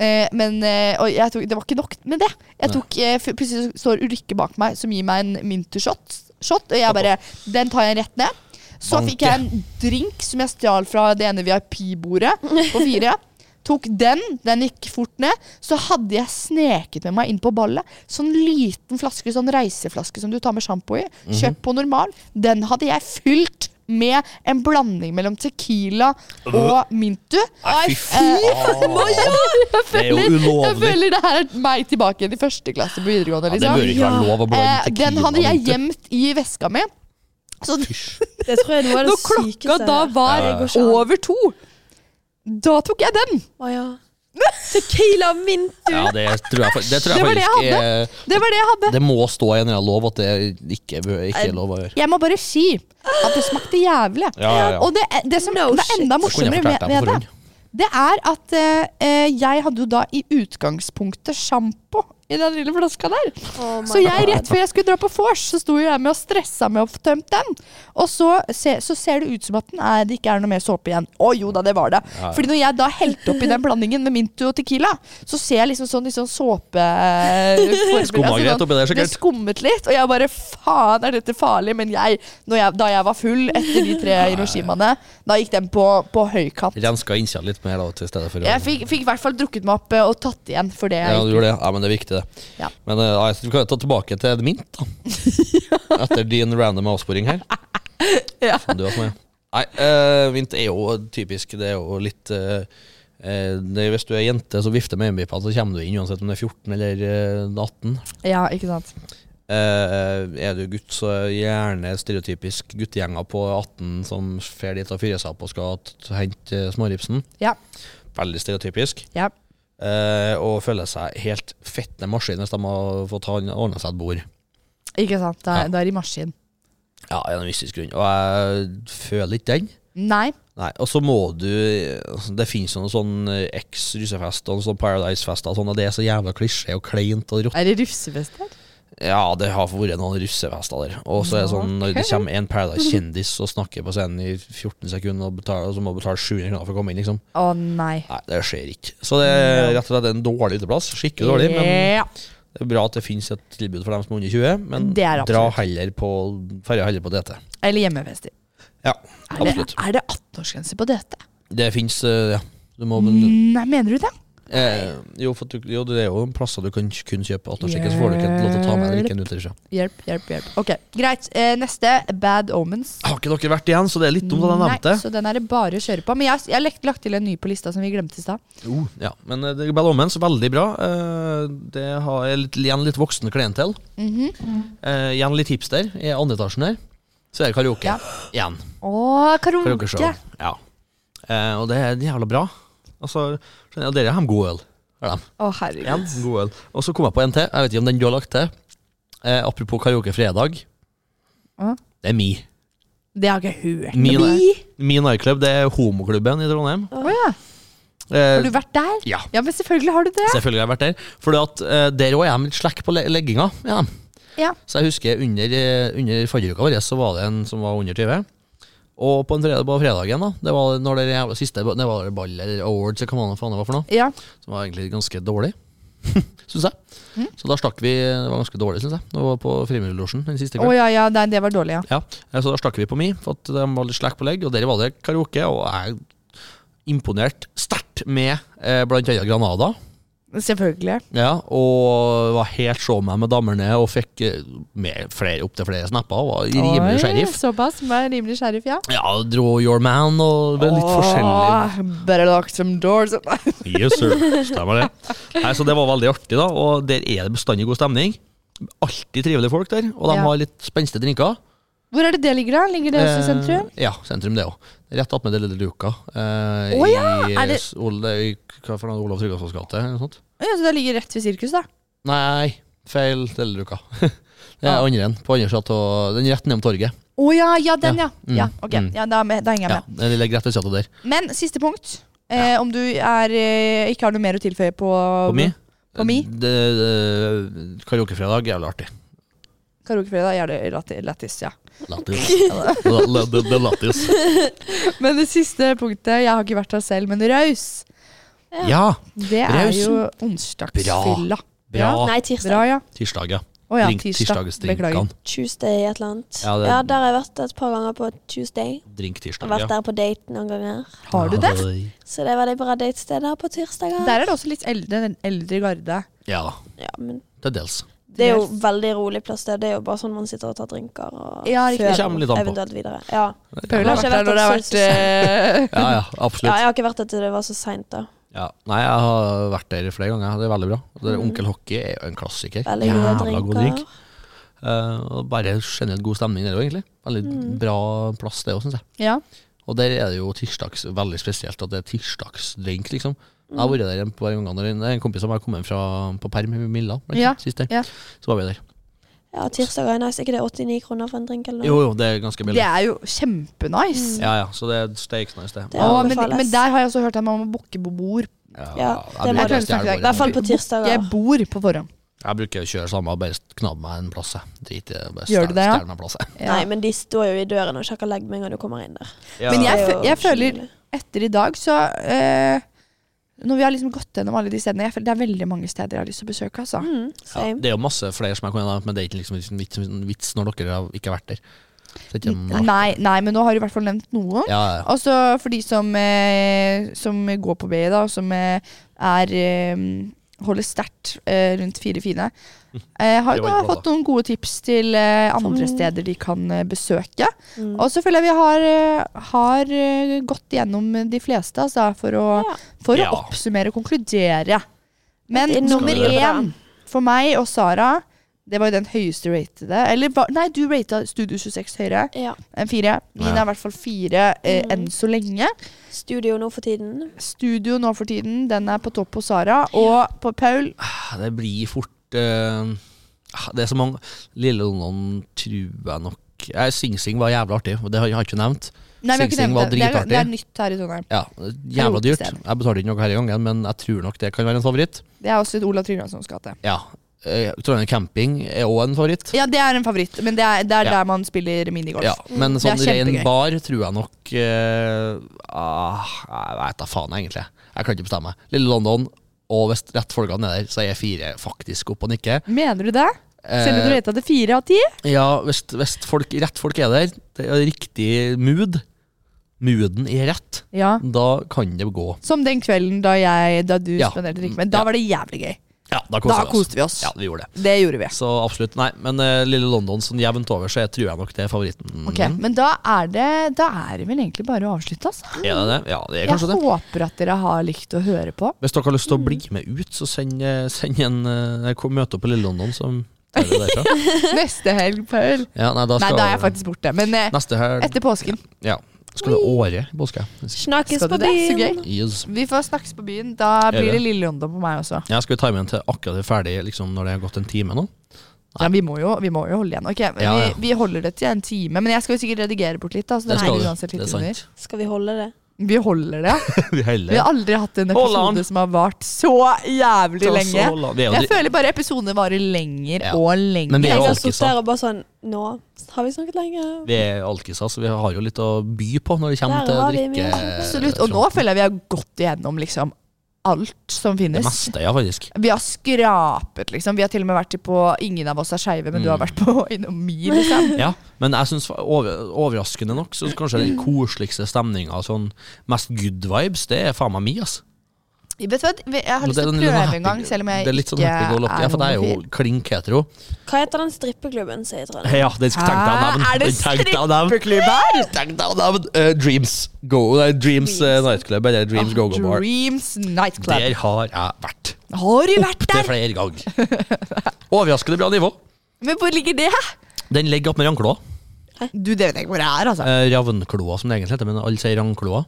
Speaker 3: Eh, men eh, og jeg tok, det var ikke nok med det. Jeg tok, eh, f- plutselig så står Ulrikke bak meg, som gir meg en mintershot. Shot, og jeg bare Den tar jeg rett ned. Så
Speaker 1: Banke.
Speaker 3: fikk jeg en drink som jeg stjal fra det ene VIP-bordet på fire. Tok den, den gikk fort ned. Så hadde jeg sneket med meg inn på ballet. Sånn liten flaske, sånn reiseflaske som du tar med sjampo i.
Speaker 1: Mhm.
Speaker 3: Kjøpt på normal. Den hadde jeg fylt med en blanding mellom tequila og mintu. Eh,
Speaker 1: Nei, fy Det er jo
Speaker 3: Jeg
Speaker 1: ulovlig.
Speaker 3: føler det her er meg tilbake igjen i første klasse på videregående.
Speaker 1: Ja, det bør
Speaker 3: Liksom.
Speaker 1: ikke være lov å blande
Speaker 3: Eh,
Speaker 1: tequila.
Speaker 3: den hadde jeg
Speaker 1: og vin.
Speaker 3: gjemt i veska mi. Så
Speaker 1: Fysj.
Speaker 2: Det tror jeg er noe av det
Speaker 3: når klokka
Speaker 2: sykeste.
Speaker 3: da
Speaker 1: Ja, ja,
Speaker 3: var
Speaker 1: ja.
Speaker 3: over to, da tok jeg den.
Speaker 2: Å ja. Tequila mint!
Speaker 1: Ja, det tror jeg, fa- det tror jeg
Speaker 3: Det var det jeg
Speaker 1: faktisk er
Speaker 3: Det var det jeg hadde.
Speaker 1: Det må stå i en eller annen lov at det ikke, bør- ikke er lov å gjøre.
Speaker 3: Jeg må bare si at det smakte jævlig.
Speaker 1: Ja, ja, ja.
Speaker 3: Og det, det som
Speaker 2: No
Speaker 3: det er enda
Speaker 1: Det kunne jeg
Speaker 3: morsommere
Speaker 1: fortalt deg
Speaker 3: med,
Speaker 1: på
Speaker 3: med
Speaker 1: forhånd.
Speaker 3: det, det er at eh, eh, jeg hadde jo da i utgangspunktet sjampo i den lille flaska der.
Speaker 2: Oh my
Speaker 3: Så jeg rett før jeg skulle dra på vors, så sto jo jeg med og stressa med å få tømt den. Og så, se, så ser det ut som at den er, det ikke er noe mer såpe igjen. Å jo da, det var det.
Speaker 1: Ja, ja.
Speaker 3: Fordi når jeg da helte oppi den blandingen med mintu og tequila, så ser jeg liksom sånn, litt sånn såpe... eh,
Speaker 1: Skummagrett
Speaker 3: sånn-
Speaker 1: oppi der, sikkert.
Speaker 3: Det skummet litt, og jeg bare faen, er dette farlig? Men jeg, når jeg, da jeg var full etter de tre Hiroshimaene, da gikk den på, på høykant.
Speaker 1: Renska innsida litt mer da, til stedet for å-
Speaker 3: Jeg fikk, fikk i hvert fall drukket meg opp eh, og tatt igjen for det. jeg
Speaker 1: Ja,
Speaker 3: gikk
Speaker 1: du gjorde det. Ja, men det er viktig, det.
Speaker 3: Ja.
Speaker 1: Men eh, nei, så vi kan jo ta tilbake til det mint, da. Etter din random avsporing her.
Speaker 3: Ja.
Speaker 1: Som Du, har som er. Nei, eh, mint er jo typisk. Det er jo litt eh, eh, det, er Hvis du er jente som vifter med øyenpipa, så kommer du inn uansett om du er 14 eller eh, 18.
Speaker 3: Ja, ikke sant.
Speaker 1: Eh, er du gutt, så er gjerne stereotypisk guttegjenger på 18 som fer dit og fyrer seg opp og skal t- hente eh, småripsen.
Speaker 3: Ja.
Speaker 1: Veldig stereotypisk.
Speaker 3: Ja.
Speaker 1: Eh, og føler seg helt fette maskin hvis de har fått han- ordna seg et bord.
Speaker 3: Ikke sant. Da,
Speaker 1: Ja.
Speaker 3: da er det i maskin.
Speaker 1: Ja, av en mystisk grunn. Og jeg føler ikke den.
Speaker 3: Nei.
Speaker 1: Nei, Og så må du altså, Det finnes jo noen sånn eks-russefest og sånn Paradise-fest og sånn, og det er så jævla klisjé og kleint og rått.
Speaker 3: Er det russefest her?
Speaker 1: Ja, det har vært noen russefester der. Og så er det sånn når det kommer en Paradise-kjendis og snakker på scenen i 14 sekunder, og, betaler, og så må du betale 700 kroner for å komme inn, liksom.
Speaker 3: Å nei.
Speaker 1: Nei, det skjer ikke. Så det er rett og slett en dårlig uteplass. Skikkelig dårlig, men
Speaker 3: Ja.
Speaker 1: det er bra at det finnes et tilbud for dem som er under 20, men
Speaker 3: Det er
Speaker 1: dra
Speaker 3: absolutt.
Speaker 1: heller på Ferja heller på DT.
Speaker 3: Eller hjemmefester.
Speaker 1: Ja,
Speaker 3: Er det,
Speaker 1: absolutt.
Speaker 3: er det 18-årsgrense på dette? Mm.
Speaker 1: Det fins, eh, ja. Du må
Speaker 3: Nei, mener du det?
Speaker 1: Eh, jo, for du, jo, det er jo plasser du kan k- kun kjøpe 18-årsskikke, så får du ikke lov til å ta med deg drikken ut. derfra.
Speaker 3: Hjelp, hjelp, hjelp. Ok, Greit. Eh, neste, Bad Omens.
Speaker 1: Har ikke dere vært igjen, så det er litt dumt at jeg nevnte
Speaker 3: Nei, så den er det bare å kjøre på. Men jeg jeg har lagt, lagt til en ny på lista som vi glemte i stad.
Speaker 1: Jo, ja. Men eh, det er Bad Omens, veldig bra. Eh, Det har jeg litt, igjen litt voksen klientell.
Speaker 3: Mhm.
Speaker 1: Eh, igjen litt hipster i andre etasjen her. Så er det karaoke.
Speaker 3: Ja.
Speaker 1: Igjen.
Speaker 3: Å,
Speaker 1: Karaokeshow.
Speaker 3: karaoke!
Speaker 1: Ja. Eh, og det er jævla bra. Altså, skjønner jeg, dere har god øl. Har de.
Speaker 3: Å, herregud.
Speaker 1: En god øl. Og så kom jeg på en til. Jeg vet ikke om den du har lagt til. Eh, apropos karaoke fredag.
Speaker 3: Ja.
Speaker 1: Det er mi.
Speaker 3: Det har ikke jeg hørt.
Speaker 1: Mi,
Speaker 3: Vi?
Speaker 1: mi nightclub. Det er homoklubben i Trondheim.
Speaker 3: Å ja. Har
Speaker 1: Eh,
Speaker 3: du vært der?
Speaker 1: ja,
Speaker 3: Ja, men selvfølgelig har du det.
Speaker 1: selvfølgelig har jeg vært der. For eh, der òg er de litt slack på le legginga. Ja.
Speaker 3: Ja.
Speaker 1: Så jeg husker under, eh, under fadderuka vår så var det en som var under 20. Og på, en fredag, på fredagen, da, det var når det jævla siste det var ball eller award, så hva faen det var for noe,
Speaker 3: Ja.
Speaker 1: som var egentlig ganske dårlig, syns jeg.
Speaker 3: Mm.
Speaker 1: Så da stakk vi Det var ganske dårlig, syns jeg. Det var på Frimurlosjen den siste
Speaker 3: Å
Speaker 1: kvelden.
Speaker 3: ja, ja, nei, det var dårlig, ja.
Speaker 1: Ja, eh, så da stakk vi på mi, for at de var litt slack på legg, og der var det karaoke, og jeg imponert sterkt med eh, blant annet Granada,
Speaker 3: Selvfølgelig.
Speaker 1: ja, og var helt så meg med damerne, og fikk eh, med flere, opp til flere snapper, og var
Speaker 3: Oi,
Speaker 1: rimelig sheriff.
Speaker 3: Såpass. Var rimelig sheriff, ja.
Speaker 1: Ja, dro Your Man, og det var litt forskjellig.
Speaker 3: Åh, Better lock some doors.
Speaker 1: Yes, sir. Stemmer det. Nei, så det var veldig artig, da, og der er det bestandig god stemning. Alltid trivelige folk der, og de
Speaker 3: Ja.
Speaker 1: har litt spenstige drinker.
Speaker 3: Hvor er det det ligger, da? Ligger det også i sentrum?
Speaker 1: Eh, ja, sentrum det òg. Rett attmed det lille luka. Eh,
Speaker 3: Å ja,
Speaker 1: I
Speaker 3: er det-
Speaker 1: S- Ol- i hva for noe, Olav Tryggvasons gate? eller noe sånt?
Speaker 3: Å Ja, så det ligger rett ved sirkus, da.
Speaker 1: Nei, feil lille luka. det er
Speaker 3: Ah.
Speaker 1: andre en. På andre sida av Den rett nedom torget.
Speaker 3: Å ja, ja, den, ja.
Speaker 1: Mm,
Speaker 3: Ja, ok,
Speaker 1: mm.
Speaker 3: ja, da, er jeg med, da henger jeg
Speaker 1: Ja,
Speaker 3: med.
Speaker 1: den lille rett ved sida der.
Speaker 3: Men siste punkt. Eh, om du er, eh, ikke har noe mer å tilføye på,
Speaker 1: På mi?
Speaker 3: På mi?
Speaker 1: Det, det, karaokefredag er jævlig artig.
Speaker 3: karaokefredag, er det latti- lættis. Ja.
Speaker 1: Lattis. La- la- Det det er lattis.
Speaker 3: Men det siste punktet, jeg har ikke vært der selv, men raus.
Speaker 1: Ja,
Speaker 3: Det er
Speaker 1: Raus.
Speaker 3: jo onsdagsfylla.
Speaker 1: bra
Speaker 3: Bra,
Speaker 2: Nei, tirsdag.
Speaker 3: ja.
Speaker 1: tirsdag, ja.
Speaker 3: Å ja,
Speaker 1: Drink-
Speaker 3: tirsdag. Beklager.
Speaker 1: Tirsdagsdrinkene.
Speaker 2: Tuesday et eller annet.
Speaker 1: Ja,
Speaker 2: Ja,
Speaker 1: det-
Speaker 2: der har jeg vært et par ganger på Tuesday. Jeg har
Speaker 1: Drinktirsdag,
Speaker 2: vært der på date noen ganger.
Speaker 3: Har du det?
Speaker 2: Så det var de bra datesteder på tirsdager.
Speaker 3: Der er det også litt eldre, den eldre garde.
Speaker 1: Ja,
Speaker 2: Ja, men
Speaker 1: til dels.
Speaker 2: det er jo
Speaker 3: Dels.
Speaker 2: veldig rolig plass der. Det er jo bare sånn man sitter og tar drinker og
Speaker 3: Ja, riktig.
Speaker 1: Det kommer litt an på.
Speaker 2: eventuelt videre. Ja.
Speaker 3: Paul
Speaker 2: Jeg
Speaker 3: har
Speaker 2: har
Speaker 3: vært der når det har
Speaker 2: ikke
Speaker 3: vært eh,
Speaker 1: Ja, ja,
Speaker 2: ja,
Speaker 1: absolutt.
Speaker 2: jeg har ikke vært der til det var så seint, da.
Speaker 1: Ja. Nei, jeg har vært der flere ganger. Det er veldig bra. Og Det der Onkel Hockey er jo en klassiker.
Speaker 2: Veldig gode
Speaker 1: god
Speaker 2: drinker.
Speaker 1: drink. Eh, og bare generelt god stemning der òg, egentlig. Veldig bra plass, det òg, syns jeg.
Speaker 3: Ja.
Speaker 1: Og der er det jo tirsdags veldig spesielt at det er tirsdagsdrink, liksom. Jeg har vært der en par ganger. når en- det er En kompis av meg kom hjem fra, på perm i Milla blant
Speaker 3: Ja,
Speaker 1: annet, sist der.
Speaker 3: ja.
Speaker 1: Så var vi der.
Speaker 2: Ja, tirsdager er nice. Er ikke det 89 kroner for en drink eller noe?
Speaker 1: Jo, jo, det er ganske billig.
Speaker 3: Det er jo kjempenice.
Speaker 1: Ja, ja, så det er steaks nice, det.
Speaker 2: Det
Speaker 3: Å, men,
Speaker 2: anbefales.
Speaker 3: men der har jeg også hørt at man må booke på bord.
Speaker 2: Ja,
Speaker 1: jeg
Speaker 2: det må
Speaker 1: bruker
Speaker 3: du-
Speaker 1: å stjele
Speaker 3: I
Speaker 2: I
Speaker 1: bare-
Speaker 2: hvert fall på
Speaker 3: Jeg
Speaker 2: tirsdager.
Speaker 3: bor på forhånd.
Speaker 1: Jeg bruker å kjøre samme, bare knabb meg en plass. jeg. Drit i det. bare
Speaker 3: Gjør
Speaker 1: stjel-
Speaker 3: du det, ja?
Speaker 1: stjel meg en plass, jeg.
Speaker 3: Ja.
Speaker 2: Nei, men de står jo i døren og sjekker legg med en gang du kommer inn der.
Speaker 3: Men jeg,
Speaker 2: Det er
Speaker 3: fø-
Speaker 2: jo
Speaker 3: jeg føler
Speaker 2: skikkelig.
Speaker 3: etter i dag, så eh, Når vi har liksom gått gjennom alle de stedene jeg føler Det er veldig mange steder jeg har lyst til å besøke. Altså.
Speaker 2: mm,
Speaker 1: Ja,
Speaker 2: Same.
Speaker 1: det er jo masse flere som jeg kunne ha nevnt, men det er ikke liksom en vits, en vits når dere har ikke har vært der. Så det er ikke en-
Speaker 3: Nei, nei, men nå har du i hvert fall nevnt noen.
Speaker 1: ja, ja.
Speaker 3: Altså for de som, eh, som går på BI, da, og som eh, er eh, Holder sterkt eh, rundt fire fine. Eh, har
Speaker 1: Det
Speaker 3: jo
Speaker 1: var bra,
Speaker 3: da
Speaker 1: da.
Speaker 3: fått noen gode tips til eh,
Speaker 2: Sånn.
Speaker 3: andre steder de kan eh, besøke.
Speaker 2: Mm.
Speaker 3: Og så føler jeg vi har, eh, har eh, gått gjennom de fleste altså, for å
Speaker 2: Ja.
Speaker 3: For
Speaker 1: Ja.
Speaker 3: å oppsummere og konkludere. Men
Speaker 2: Det er
Speaker 3: nummer
Speaker 1: noe
Speaker 2: bra.
Speaker 3: én for meg og Sara, det var jo den høyeste ratede. Eller hva- nei, du rata Studio 26 høyere
Speaker 2: Ja.
Speaker 3: enn fire. Min
Speaker 1: Ja.
Speaker 3: er i hvert fall fire eh, enn så lenge.
Speaker 2: Studio nå for tiden.
Speaker 3: Studio nå for tiden, den er på topp hos Sara. Og på Paul
Speaker 1: Ah, Det blir fort eh, ah, Det er så mange Lille London tror jeg nok Eh, Sing Sing var jævlig artig, og det har jeg har ikke nevnt.
Speaker 3: Nei, vi har
Speaker 1: Sing
Speaker 3: ikke
Speaker 1: Sing
Speaker 3: nevnt
Speaker 1: var
Speaker 3: det. Det er,
Speaker 1: dritartig.
Speaker 3: det er nytt her i Trondheim.
Speaker 1: Ja, Jævla dyrt.
Speaker 3: Karaokested.
Speaker 1: Jeg betalte ikke noe her i gangen, men jeg tror nok det kan være en favoritt.
Speaker 3: Det er også et Olav Tryggvasons gate.
Speaker 1: Ja, eh, Trondheim Camping er òg en favoritt.
Speaker 3: Ja, det er en favoritt, men det er, det er
Speaker 1: Ja.
Speaker 3: der man spiller minigolf.
Speaker 1: Ja, men
Speaker 3: Det er
Speaker 1: sånn ren
Speaker 3: kjempegøy.
Speaker 1: bar tror jeg nok eh, ah, Jeg vet da faen, egentlig. Jeg kan ikke bestemme. Lille London, og hvis rett folkene er der, så er fire faktisk opp og nikker.
Speaker 3: Mener du det? Selv om du
Speaker 1: Eh,
Speaker 3: rata det fire av ti?
Speaker 1: Ja, hvis, hvis folk, rett folk er der, det er riktig mood, mooden er rett,
Speaker 3: Ja.
Speaker 1: da kan det gå.
Speaker 3: Som den kvelden da, jeg, da du
Speaker 1: Ja.
Speaker 3: spanderte drikke med. Da
Speaker 1: Ja.
Speaker 3: var det jævlig gøy.
Speaker 1: Ja, da koste,
Speaker 3: Da
Speaker 1: vi, oss.
Speaker 3: koste vi oss.
Speaker 1: Ja, vi gjorde det.
Speaker 3: Det gjorde vi.
Speaker 1: Så absolutt. Nei, men eh, lille London sånn jevnt over, så jeg tror jeg nok det er favoritten.
Speaker 3: Ok, Men da er det Da er det vel egentlig bare å avslutte, altså.
Speaker 1: Er det det? Ja, det er
Speaker 3: Jeg
Speaker 1: kanskje det.
Speaker 3: håper at dere har likt å høre på.
Speaker 1: Hvis dere har lyst til å bli med ut, så send, eh, send en eh, kom- møte opp på Lille London, så tar vi det derfra.
Speaker 3: Neste helg, Paul.
Speaker 1: Ja, nei, da
Speaker 3: Nei,
Speaker 1: skal
Speaker 3: da er jeg faktisk borte. Men eh,
Speaker 1: Neste helg
Speaker 3: etter påsken.
Speaker 1: Ja. Skal det åre i påske?
Speaker 2: Snakkes
Speaker 3: Skal du
Speaker 2: på
Speaker 3: det? Så
Speaker 2: byen.
Speaker 3: gøy.
Speaker 1: Yes.
Speaker 3: Vi får snakkes på byen. Da
Speaker 1: Gjør
Speaker 3: blir
Speaker 1: det.
Speaker 3: det Lille London på meg også.
Speaker 1: Ja, skal vi time igjen til akkurat det er ferdig, liksom, når det har gått en time nå?
Speaker 3: Ja, vi, må jo, vi må jo holde igjen. Ok, men
Speaker 1: Ja, ja.
Speaker 3: Vi, vi holder det til en time, men jeg skal jo sikkert redigere bort litt. Da,
Speaker 1: Det
Speaker 3: så det
Speaker 1: skal
Speaker 3: blir
Speaker 1: du.
Speaker 3: uansett litt
Speaker 1: Det er
Speaker 3: under.
Speaker 1: sant.
Speaker 2: Skal vi holde det?
Speaker 3: Vi holder det.
Speaker 1: Vi heller.
Speaker 3: Vi har aldri hatt en
Speaker 1: Hold on.
Speaker 3: episode som har vart så jævlig
Speaker 1: Så-
Speaker 3: lenge.
Speaker 1: så la- Vi er jo
Speaker 3: Jeg
Speaker 1: dri-
Speaker 3: føler bare episoder varer lenger
Speaker 1: Ja.
Speaker 3: og lenger.
Speaker 1: Men vi er
Speaker 2: Jeg
Speaker 1: jo
Speaker 2: har sittet
Speaker 1: alkiser.
Speaker 2: der og bare sånn Nå har vi snakket lenge.
Speaker 1: Vi er alkiser, så vi har jo litt å by på når det kommer
Speaker 2: Der
Speaker 1: til
Speaker 2: har vi mye.
Speaker 1: drikke.
Speaker 3: Absolutt. Og nå føler jeg vi har gått igjennom liksom alt som
Speaker 1: Det
Speaker 3: finnes.
Speaker 1: meste, ja, faktisk.
Speaker 3: Vi har skrapet, liksom. Vi har til og med vært på Ingen av oss er skeive, men du har
Speaker 1: Mm.
Speaker 3: vært på innom mi, liksom.
Speaker 1: Ja, men jeg syns over, overraskende nok så kanskje den koseligste stemninga, sånn mest good vibes, det er faen meg mi, ass.
Speaker 3: Vet du hva, jeg har
Speaker 1: Og
Speaker 3: lyst til å
Speaker 1: den lille
Speaker 3: prøve
Speaker 1: happy-
Speaker 3: en gang, selv om jeg
Speaker 1: Det er litt
Speaker 3: ikke
Speaker 1: sånn happy go lucky. Ja, for det er jo
Speaker 3: homofil.
Speaker 1: klink hetero.
Speaker 2: Hva heter den strippeklubben sier jeg,
Speaker 1: Ja, den skulle tenkt deg å nevne.
Speaker 3: Hæ? Er det
Speaker 1: Den tenkte jeg å nevne.
Speaker 3: strippeklubb her?
Speaker 1: Tenk deg å nevne eh, Dreams Go nei, Dreams eh, Nightclub eller Dreams Go Go Bar.
Speaker 3: Ah, Dreams Nightclub.
Speaker 1: Der har jeg vært.
Speaker 3: Har du vært
Speaker 1: Til
Speaker 3: der?
Speaker 1: flere ganger. Overraskende bra nivå.
Speaker 3: Men hvor ligger det?
Speaker 1: Den ligger opp med rankloa.
Speaker 3: Du, det vet jeg ikke hvor det er, altså.
Speaker 1: Eh, Ravnkloa, som det egentlig heter, men alle sier Ravnkloa.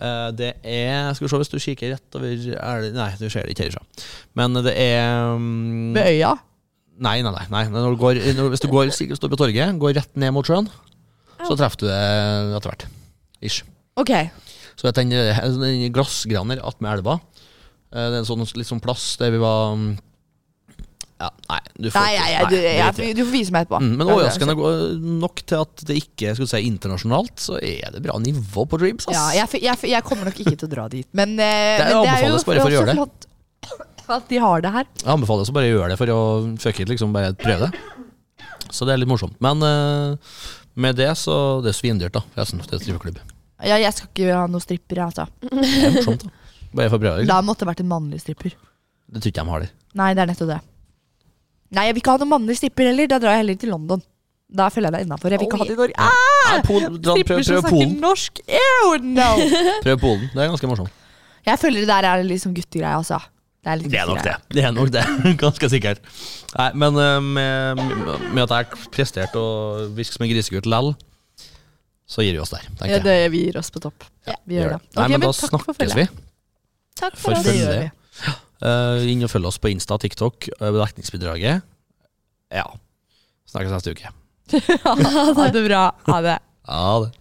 Speaker 1: Eh, det er Skal vi se, hvis du kikker rett over er det, Nei, du ser det ikke herfra. Men det er mm,
Speaker 3: Ved øya.
Speaker 1: Nei, nei, nei. nei. Når du går, når, hvis du går, står på torget, går rett ned mot sjøen, så treffer du det etter hvert. Ish.
Speaker 3: Ok.
Speaker 1: Så vet den, den glassgraner attmed elva. eh, Det er en sånn litt sånn plass der vi var mm, Ja, nei, du får
Speaker 3: Nei,
Speaker 1: ikke-
Speaker 3: jeg, jeg, du,
Speaker 1: nei,
Speaker 3: jeg,
Speaker 1: drit i det.
Speaker 3: du får vise meg etterpå.
Speaker 1: Mm, Men overraskende go- nok til at det ikke skulle si internasjonalt, så er det bra nivå på Dreams. Ass.
Speaker 3: Ja, jeg, f- jeg, f- jeg kommer nok ikke til å dra dit, men eh, men det
Speaker 1: anbefales bare for å
Speaker 3: også
Speaker 1: gjøre det.
Speaker 3: flott at de har det her.
Speaker 1: Jeg anbefaler oss å bare gjøre det for å fuck it, liksom bare prøve det. Så det er litt morsomt. Men eh, med det så Det er svindyrt, da, forresten. Det er strippeklubb.
Speaker 3: Ja, jeg skal ikke ha noen strippere, altså.
Speaker 1: Det er morsomt, da. Bare for å prøve. Liksom.
Speaker 3: Da måtte det vært en mannlig stripper.
Speaker 1: Det tror ikke de har der.
Speaker 3: Nei, det er nettopp det. Nei, jeg vil ikke ha noen mannlig stripper heller. Da drar jeg heller til London. Da føler jeg deg innafor. Jeg vil ikke ha det i Norge. Ah,
Speaker 1: Nei, Pol- dra- Sånn, Prøv
Speaker 3: stripper som
Speaker 1: prøv
Speaker 3: snakker
Speaker 1: Polen.
Speaker 3: norsk! Ew, no!
Speaker 1: Prøv Polen. Det er ganske morsomt.
Speaker 3: Jeg føler det der er litt sånn guttegreie, altså. Det er, litt
Speaker 1: Det er nok
Speaker 3: guttegreie.
Speaker 1: det. Det er nok det. Ganske sikkert. Nei, men eh, med, med at jeg presterte å virke som en grisegutt lell, så gir vi oss der,
Speaker 3: Ja,
Speaker 1: tenker jeg.
Speaker 3: det, vi gir oss på topp. Ja, vi gjør det.
Speaker 1: Nei,
Speaker 3: Ok,
Speaker 1: men da
Speaker 3: takk for
Speaker 1: snakkes
Speaker 3: følget.
Speaker 1: vi.
Speaker 2: Takk
Speaker 1: For
Speaker 2: for oss.
Speaker 3: Det gjør
Speaker 1: følget.
Speaker 3: vi.
Speaker 1: Eh, inn og følg oss på Insta, TikTok, eh, dekningsbidraget. Ja. Snakkes neste uke.
Speaker 3: Ha det bra. Ha det.
Speaker 1: Ha det.